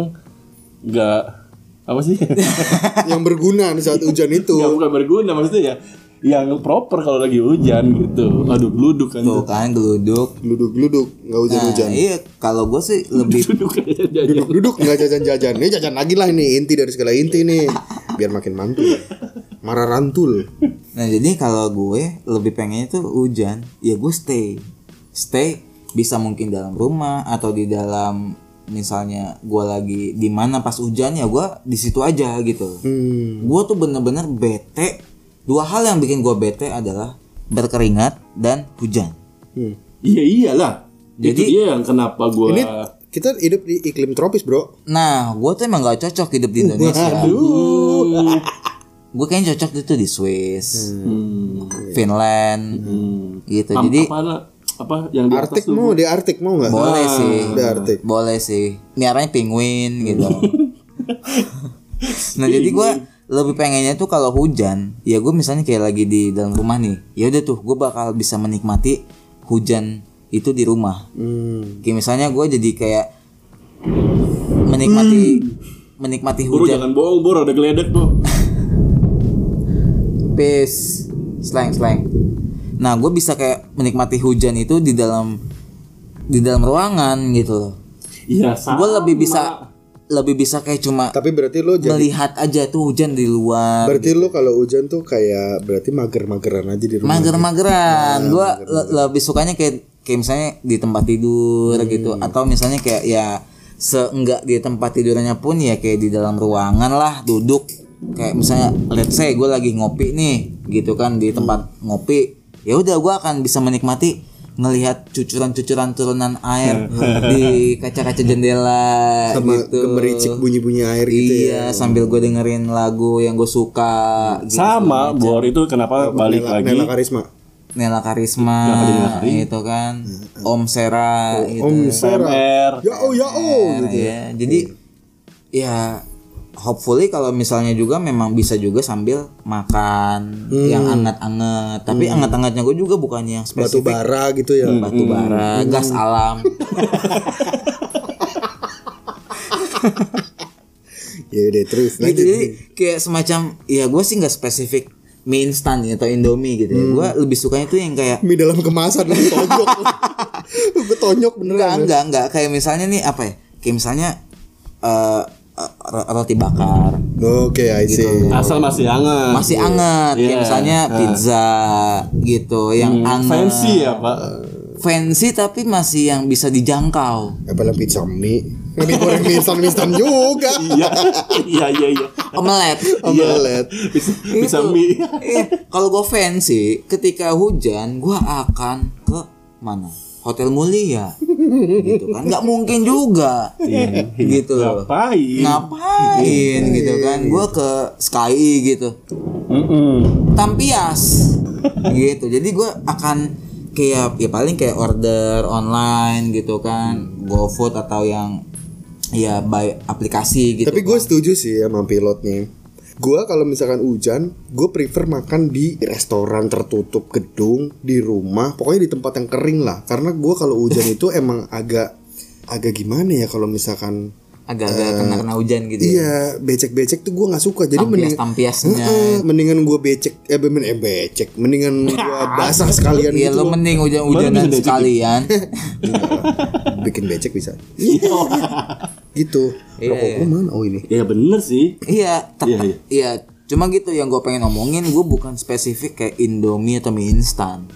nggak apa sih (laughs) nggak yang berguna di saat hujan itu. bukan berguna maksudnya ya yang proper kalau lagi hujan gitu aduh geluduk kan (laughs) tuh tuh kan geluduk Geluduk-geluduk nggak nah, hujan-hujan. iya kalau gue sih lebih Geluduk kan jajan-jajan. Duduk nggak jajan-jajan. Ini jajan lagi lah ini inti dari segala inti nih. Biar makin mantul. Marah rantul. Nah jadi kalau gue lebih pengennya tuh hujan, ya gue stay, stay bisa mungkin dalam rumah atau di dalam misalnya gue lagi di mana pas hujan ya gue di situ aja gitu. Gue tuh bener-bener bete. Dua hal yang bikin gue bete adalah berkeringat dan hujan. Hmm. iya iyalah jadi Jadi- dia yang kenapa gua Ini kita hidup di iklim tropis, Bro. Nah gue tuh emang gak cocok hidup di Indonesia. Hmm, Gue kayaknya cocok itu di Swiss, Finland, gitu. am- Jadi apa apa yang di atas Artik tuh mau, di Artik mau nggak? Ah, boleh sih. Di Artik. Boleh sih. Miaranya penguin gitu. Nah jadi gue lebih pengennya tuh kalau hujan, ya gue misalnya kayak lagi di dalam rumah nih, ya udah tuh gue bakal bisa menikmati hujan itu di rumah. Hmm. Kayak misalnya gue jadi kayak menikmati menikmati Buru hujan. jangan bohong, Bor, ada geledek, Bor. Peace, slang slang. Nah gue bisa kayak menikmati hujan itu di dalam di dalam ruangan gitu loh. Iya, sama. Gue lebih bisa lebih bisa kayak cuma Tapi berarti lo jadi melihat aja tuh hujan di luar. berarti lo kalau hujan tuh kayak berarti mager-mageran aja di rumah. Nah, mager-mageran gue lebih sukanya kayak kayak misalnya di tempat tidur Hmm. gitu atau misalnya kayak ya seenggak di tempat tidurnya pun ya kayak di dalam ruangan lah duduk kayak misalnya let's say gue lagi ngopi nih gitu kan di tempat Hmm. ngopi ya udah gue akan bisa menikmati ngelihat cucuran-cucuran turunan air di kaca-kaca jendela Hmm. sama gitu gemericik bunyi-bunyi air gitu ya. iya sambil gue dengerin lagu yang gue suka Hmm. gitu. sama, Bor. Itu kenapa balik Nela, lagi? Nela Karisma. Nela Karisma gitu kan Om Sera gitu Hmm. Oh, Om Sera. MR. Ya oh ya oh. Nah, ya jadi ya hopefully kalau misalnya juga memang bisa juga sambil makan yang anget-anget tapi anget-angetnya gue juga bukan yang Hmm. Batu spesifik bara gitu ya. batu bara gas (laughs) alam Ya udah terus gitu lanjut. jadi kayak semacam ya gue sih nggak spesifik mie instan atau indomie gitu Hmm. ya. gue lebih sukanya tuh yang kayak Mie dalam kemasan lu (laughs) tonjok. Gue tonjok Enggak, beneran. enggak, enggak. Kayak misalnya nih apa ya? Kayak misalnya eh ro- roti bakar Oke, I Gitu. see. Asal masih hangat. masih anget Ah, kayak Iya. Hmm, misalnya pizza gitu yang anget Fancy ya, Pak. fancy tapi masih yang bisa dijangkau Apalagi pizza mie. Mie goreng mie instan mie instan juga. Iya, iya, iya, iya. (laughs) omelet Omelet. Bisa, bisa mie. Eh, kalau gue fancy ketika hujan gue akan ke mana hotel mulia gitu kan nggak mungkin juga gitu Iya, loh Ngapain? ngapain gitu kan gue ke Sky gitu Mm-mm. (laughs) tampias gitu jadi gue akan kayak ya paling kayak order online gitu kan GoFood atau yang ya by aplikasi gitu Tapi gue setuju sih sama pilotnya. Gue kalau misalkan hujan, gue prefer makan di restoran tertutup gedung, di rumah, pokoknya di tempat yang kering lah. Karena gue kalau (laughs) hujan itu emang agak agak gimana ya kalau misalkan agak-agak eh, kena kena hujan gitu ya. iya becek-becek tuh gue nggak suka. Jadi mending tampias-tampiasnya Heeh, mendingan gue becek, eh bemen eh, becek, mendingan gue (laughs) basah sekalian ya gitu. lo loh. mending Baru hujan-hujanan bisa (laughs) sekalian Bikin becek (laughs) bisa. Iya. gitu. Rokok gue mana? Oh ini. Ya bener sih. iya tep- Iya, iya. iya cuma gitu yang gue pengen omongin gue bukan spesifik kayak Indomie atau mie instan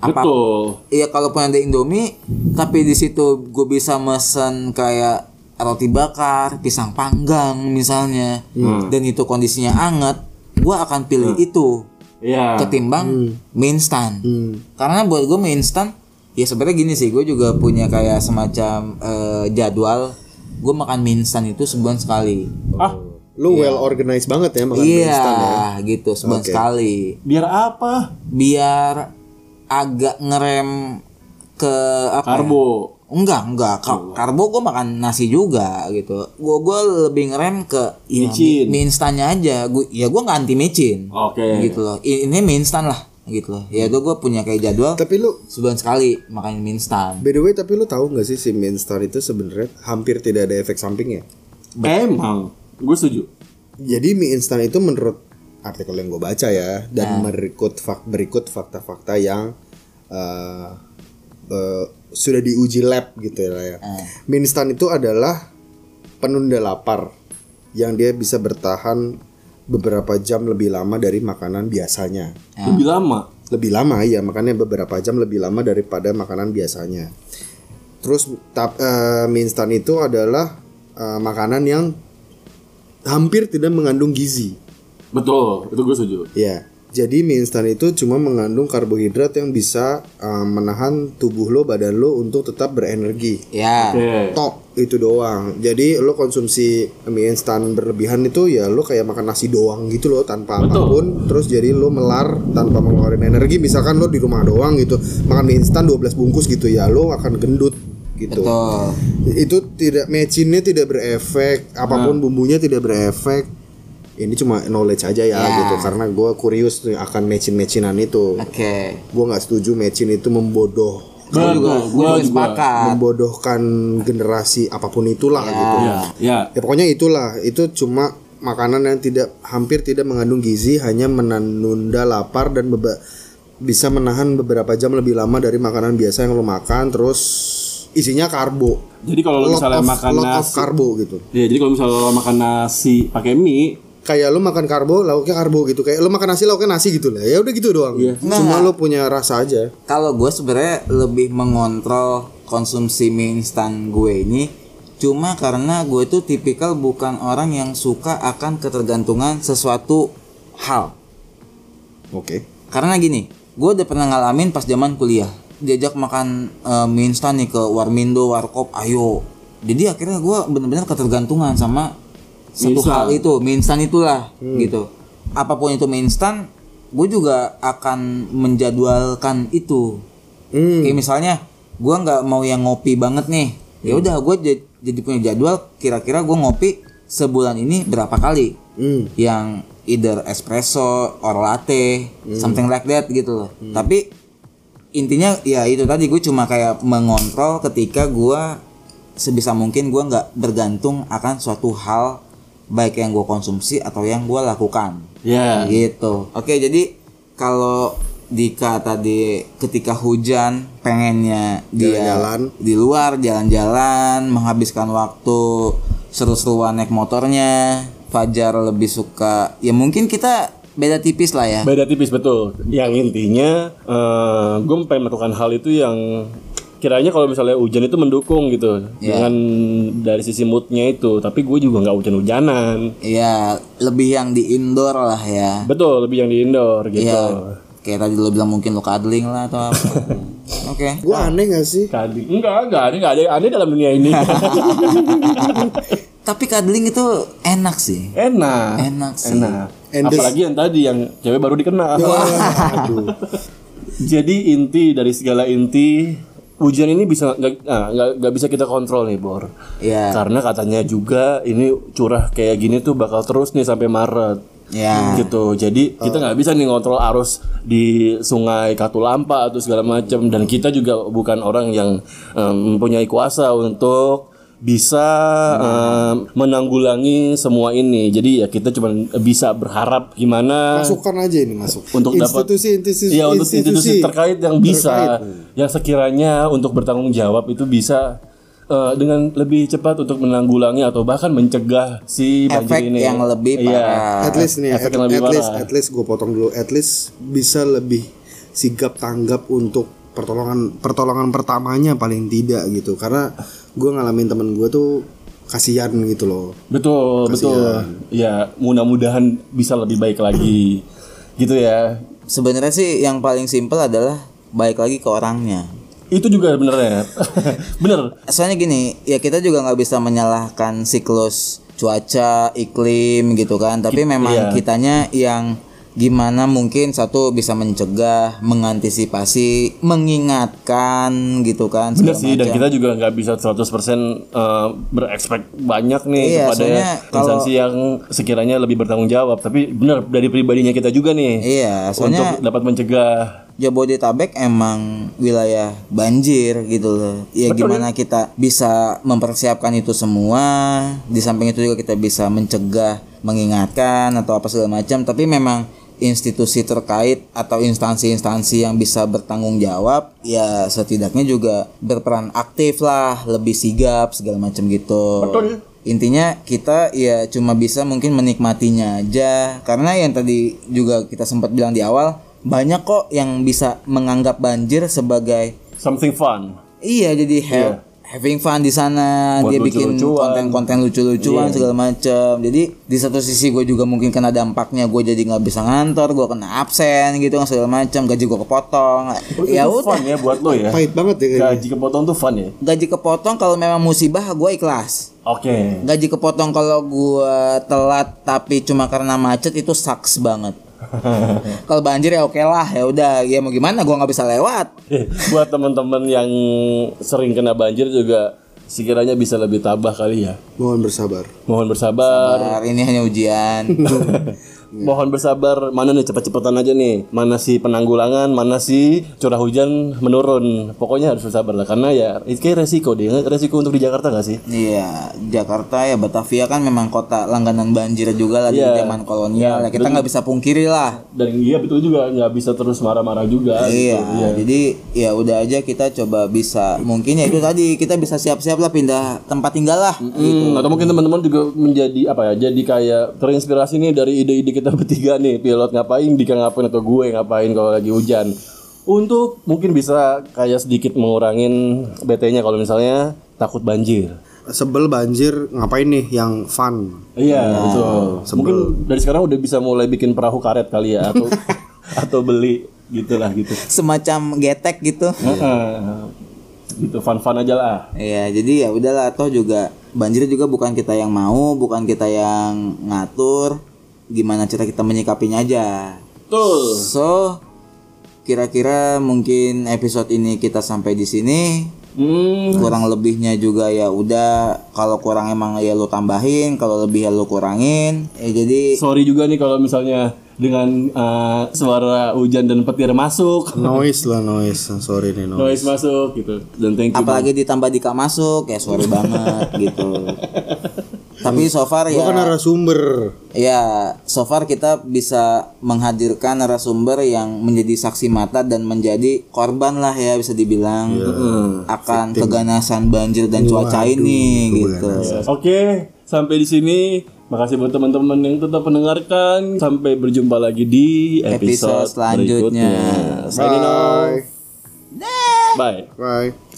apa Betul. Iya kalaupun ada Indomie, tapi di situ gue bisa mesen kayak roti bakar, pisang panggang misalnya, Hmm. dan itu kondisinya anget, gue akan pilih itu Iya. Hmm. ketimbang mie instan. Karena buat gue mie instan, ya sebenarnya gini sih, gue juga punya kayak semacam eh, jadwal gue makan mie instan itu sebulan sekali. Ah, Lu well organized banget ya makan mie Iya, instan ya. gitu sebulan sekali biar apa? biar agak ngerem ke apa ya? Karbo. Enggak, enggak. Ka- karbo gue makan nasi juga gitu. Gue gue lebih ngerem ke ya, Micin. mie, mie instannya aja. Gue ya gue nggak anti micin. Oke. Gitu loh. I- Ini mie instan lah gitu loh. Ya itu gue punya kayak jadwal Tapi lu sebulan sekali makan mie instan. By the way, tapi lu tahu nggak sih si mie instan itu sebenarnya hampir tidak ada efek sampingnya. Emang. Gue setuju. Jadi mie instan itu menurut artikel yang gue baca ya dan berikut fak berikut fakta-fakta yang eh, eh, sudah diuji lab gitu ya. lah ya. Mie instan itu adalah penunda lapar yang dia bisa bertahan beberapa jam lebih lama dari makanan biasanya. Ya. Lebih lama. lebih lama ya makanya beberapa jam lebih lama daripada makanan biasanya terus tap, eh, mie instan itu adalah eh, makanan yang hampir tidak mengandung gizi Betul. Itu gue setuju. ya jadi mie instan itu cuma mengandung karbohidrat yang bisa eh, menahan tubuh lo badan lo untuk tetap berenergi Ya. Oke. tok itu doang jadi lo konsumsi mie instan berlebihan itu ya lo kayak makan nasi doang gitu loh tanpa Betul. apapun terus jadi lo melar tanpa mengeluarkan energi misalkan lo di rumah doang gitu makan mie instan 12 bungkus gitu ya lo akan gendut gitu Betul. itu tidak mecinnya tidak berefek apapun bumbunya tidak berefek ini cuma knowledge aja ya Ya. gitu karena gua kurius tuh akan matchin matchinan itu Oke. Gua nggak setuju matchin itu membodoh Gue juga, Bagus, gue juga bagus. sepakat. membodohkan generasi apapun itulah gitu Ya, ya. ya pokoknya itulah itu cuma makanan yang tidak hampir tidak mengandung gizi hanya menunda lapar dan beba- bisa menahan beberapa jam lebih lama dari makanan biasa yang lo makan terus isinya karbo Jadi kalau lo Lot misalnya of- makan lot of nasi, karbo gitu ya jadi kalau misalnya lo makan nasi pakai mie, kayak lo makan karbo lauknya karbo gitu kayak lo makan nasi lauknya nasi gitu lah ya udah gitu doang Iya. cuma lo punya rasa aja Kalau gue sebenarnya lebih mengontrol konsumsi mie instan gue ini cuma karena gue tuh tipikal bukan orang yang suka akan ketergantungan sesuatu hal. oke Karena gini, gue udah pernah ngalamin pas zaman kuliah diajak makan eh, mie instan nih ke Warmindo, Warkop, ayo. Jadi akhirnya gue bener-bener ketergantungan sama satu hal itu, mie instan itulah gitu. Apapun itu mie instan, gue juga akan menjadwalkan itu. Kayak misalnya, gue nggak mau yang ngopi banget nih. Ya udah, gue jad- jadi punya jadwal. Kira-kira gue ngopi sebulan ini berapa kali? Yang either espresso or latte, something like that gitu loh. Tapi intinya ya itu tadi gue cuma kayak mengontrol ketika gue sebisa mungkin gue nggak bergantung akan suatu hal baik yang gue konsumsi atau yang gue lakukan ya gitu oke jadi kalau Dika tadi ketika hujan pengennya dia Jalan-jalan. di luar jalan-jalan menghabiskan waktu seru-seruan naik motornya Fajar lebih suka ya mungkin kita beda tipis lah ya Beda tipis betul. Yang intinya gue pengen melakukan hal itu yang kiranya kalau misalnya hujan itu mendukung gitu Iya. dengan dari sisi moodnya itu. Tapi gue juga nggak hujan-hujanan. ya lebih yang di indoor lah ya Betul, lebih yang di indoor gitu. ya kayak tadi lo bilang mungkin lo cuddling lah atau apa oke gue aneh gak sih Tadi enggak, enggak, ini enggak ada yang aneh dalam dunia (laughs) ini. tapi cuddling itu enak sih enak. Enak sih. Enak. And this- Apalagi yang tadi yang cewek baru (laughs) dikenal. aduh Jadi inti dari segala inti hujan ini bisa nggak nah, nggak- nggak bisa kita kontrol nih Bor. ya Karena katanya juga ini curah kayak gini tuh bakal terus nih sampai Maret. ya gitu jadi kita nggak bisa nih ngontrol arus di sungai Katulampa atau segala macam dan kita juga bukan orang yang em, mempunyai kuasa untuk bisa em, menanggulangi semua ini jadi ya kita cuma bisa berharap gimana masukkan aja ini masuk untuk dapat institusi institusi ya untuk institusi terkait yang bisa yang sekiranya untuk bertanggung jawab itu bisa eh, dengan lebih cepat untuk menanggulangi atau bahkan mencegah si banjir efek ini yang Iya. lebih parah at least nih efek at, yang lebih at least parah. at least gue potong dulu at least bisa lebih sigap tanggap untuk pertolongan pertolongan pertamanya paling tidak gitu karena gue ngalamin temen gue tuh kasihan gitu loh Betul, betul. Ya, mudah-mudahan bisa lebih baik lagi. gitu ya. Sebenarnya sih yang paling simpel adalah balik lagi ke orangnya. Itu juga benernya. (laughs) Bener. Soalnya gini, ya kita juga nggak bisa menyalahkan siklus cuaca, iklim gitu kan. Tapi memang iya. kitanya yang gimana mungkin satu bisa mencegah, mengantisipasi, mengingatkan gitu kan. Bener segala sih dan macam. kita juga nggak bisa 100% eh, berekspek banyak nih Iya, kepada soalnya kalau- instansi yang sekiranya lebih bertanggung jawab, tapi bener dari pribadinya kita juga nih Iya, soalnya untuk dapat mencegah Jabodetabek emang wilayah banjir gitu loh. Ya gimana kita bisa mempersiapkan itu semua. Di samping itu juga kita bisa mencegah, mengingatkan atau apa segala macam. Tapi memang institusi terkait atau instansi-instansi yang bisa bertanggung jawab ya setidaknya juga berperan aktif lah, lebih sigap segala macam gitu. Intinya kita ya cuma bisa mungkin menikmatinya aja karena yang tadi juga kita sempat bilang di awal banyak kok yang bisa menganggap banjir sebagai something fun. iya jadi ha- having fun di sana dia bikin konten-konten lucu-lucuan segala macam jadi di satu sisi gue juga mungkin kena dampaknya gue jadi nggak bisa ngantor gue kena absen gitu kan segala macam gaji gue kepotong ya Itu udah Iya. fun ya buat lo (laughs) ya. pahit banget ya kayaknya Gaji kepotong tuh fun ya. gaji kepotong kalau memang musibah gue ikhlas Oke. gaji kepotong kalau gua telat tapi cuma karena macet itu sucks banget (laughs) kalau banjir ya oke lah ya udah ya Eh, mau gimana gua nggak bisa lewat buat teman-teman yang sering kena banjir juga sekiranya bisa lebih tabah kali ya. Mohon bersabar. Mohon bersabar. Bentar, ini hanya (laughs) ujian. Mohon bersabar. Mana nih cepet-cepetan aja nih. Mana si penanggulangan, mana si curah hujan menurun. Pokoknya harus bersabar lah karena ya itu kayak resiko deh. Resiko untuk di Jakarta gak sih? Iya, Jakarta ya Batavia kan memang kota langganan banjir juga lagi Iya. zaman kolonial. ya, kita nggak bisa pungkiri lah. Dan iya betul juga nggak bisa terus marah-marah juga. Iya, gitu. Iya. jadi ya udah aja kita coba bisa mungkin ya itu tadi kita bisa siap-siap lah pindah tempat tinggal lah. Hmm, atau mungkin teman-teman juga menjadi apa ya? Jadi kayak terinspirasi nih dari ide-ide kita (laughs) bertiga nih. Pilot ngapain, Dika ngapain atau gue ngapain kalau lagi hujan. Untuk mungkin bisa kayak sedikit mengurangin BT-nya kalau misalnya takut banjir. Sebel banjir ngapain nih yang fun? Iya, betul. Mungkin dari sekarang udah bisa mulai bikin perahu karet kali ya atau atau beli gitulah gitu. Semacam getek gitu. Heeh. gitu fun-fun aja lah. Iya, jadi ya udahlah toh juga banjir juga bukan kita yang mau, bukan kita yang ngatur. Gimana cara kita menyikapinya aja. Betul. So, kira-kira mungkin episode ini kita sampai di sini. Hmm, Kurang lebihnya juga ya udah kalau kurang emang ya lu tambahin, kalau lebih ya lu kurangin. Ya jadi sorry juga nih kalau misalnya dengan eh, suara hujan dan petir masuk, Noise lah noise. Sorry nih noise. noise masuk gitu. Dan thank you. apalagi ditambah Dika masuk ya sorry banget gitu. (laughs) Tapi so far ya Bukan narasumber. Ya, so far kita bisa menghadirkan narasumber yang menjadi saksi mata dan menjadi korban lah ya bisa dibilang akan keganasan banjir dan cuaca ini gitu. Oke, sampai di sini. Makasih buat teman-teman yang tetap mendengarkan. Sampai berjumpa lagi di episode, Episode selanjutnya. berikutnya. Signing off. Bye. Bye. Bye.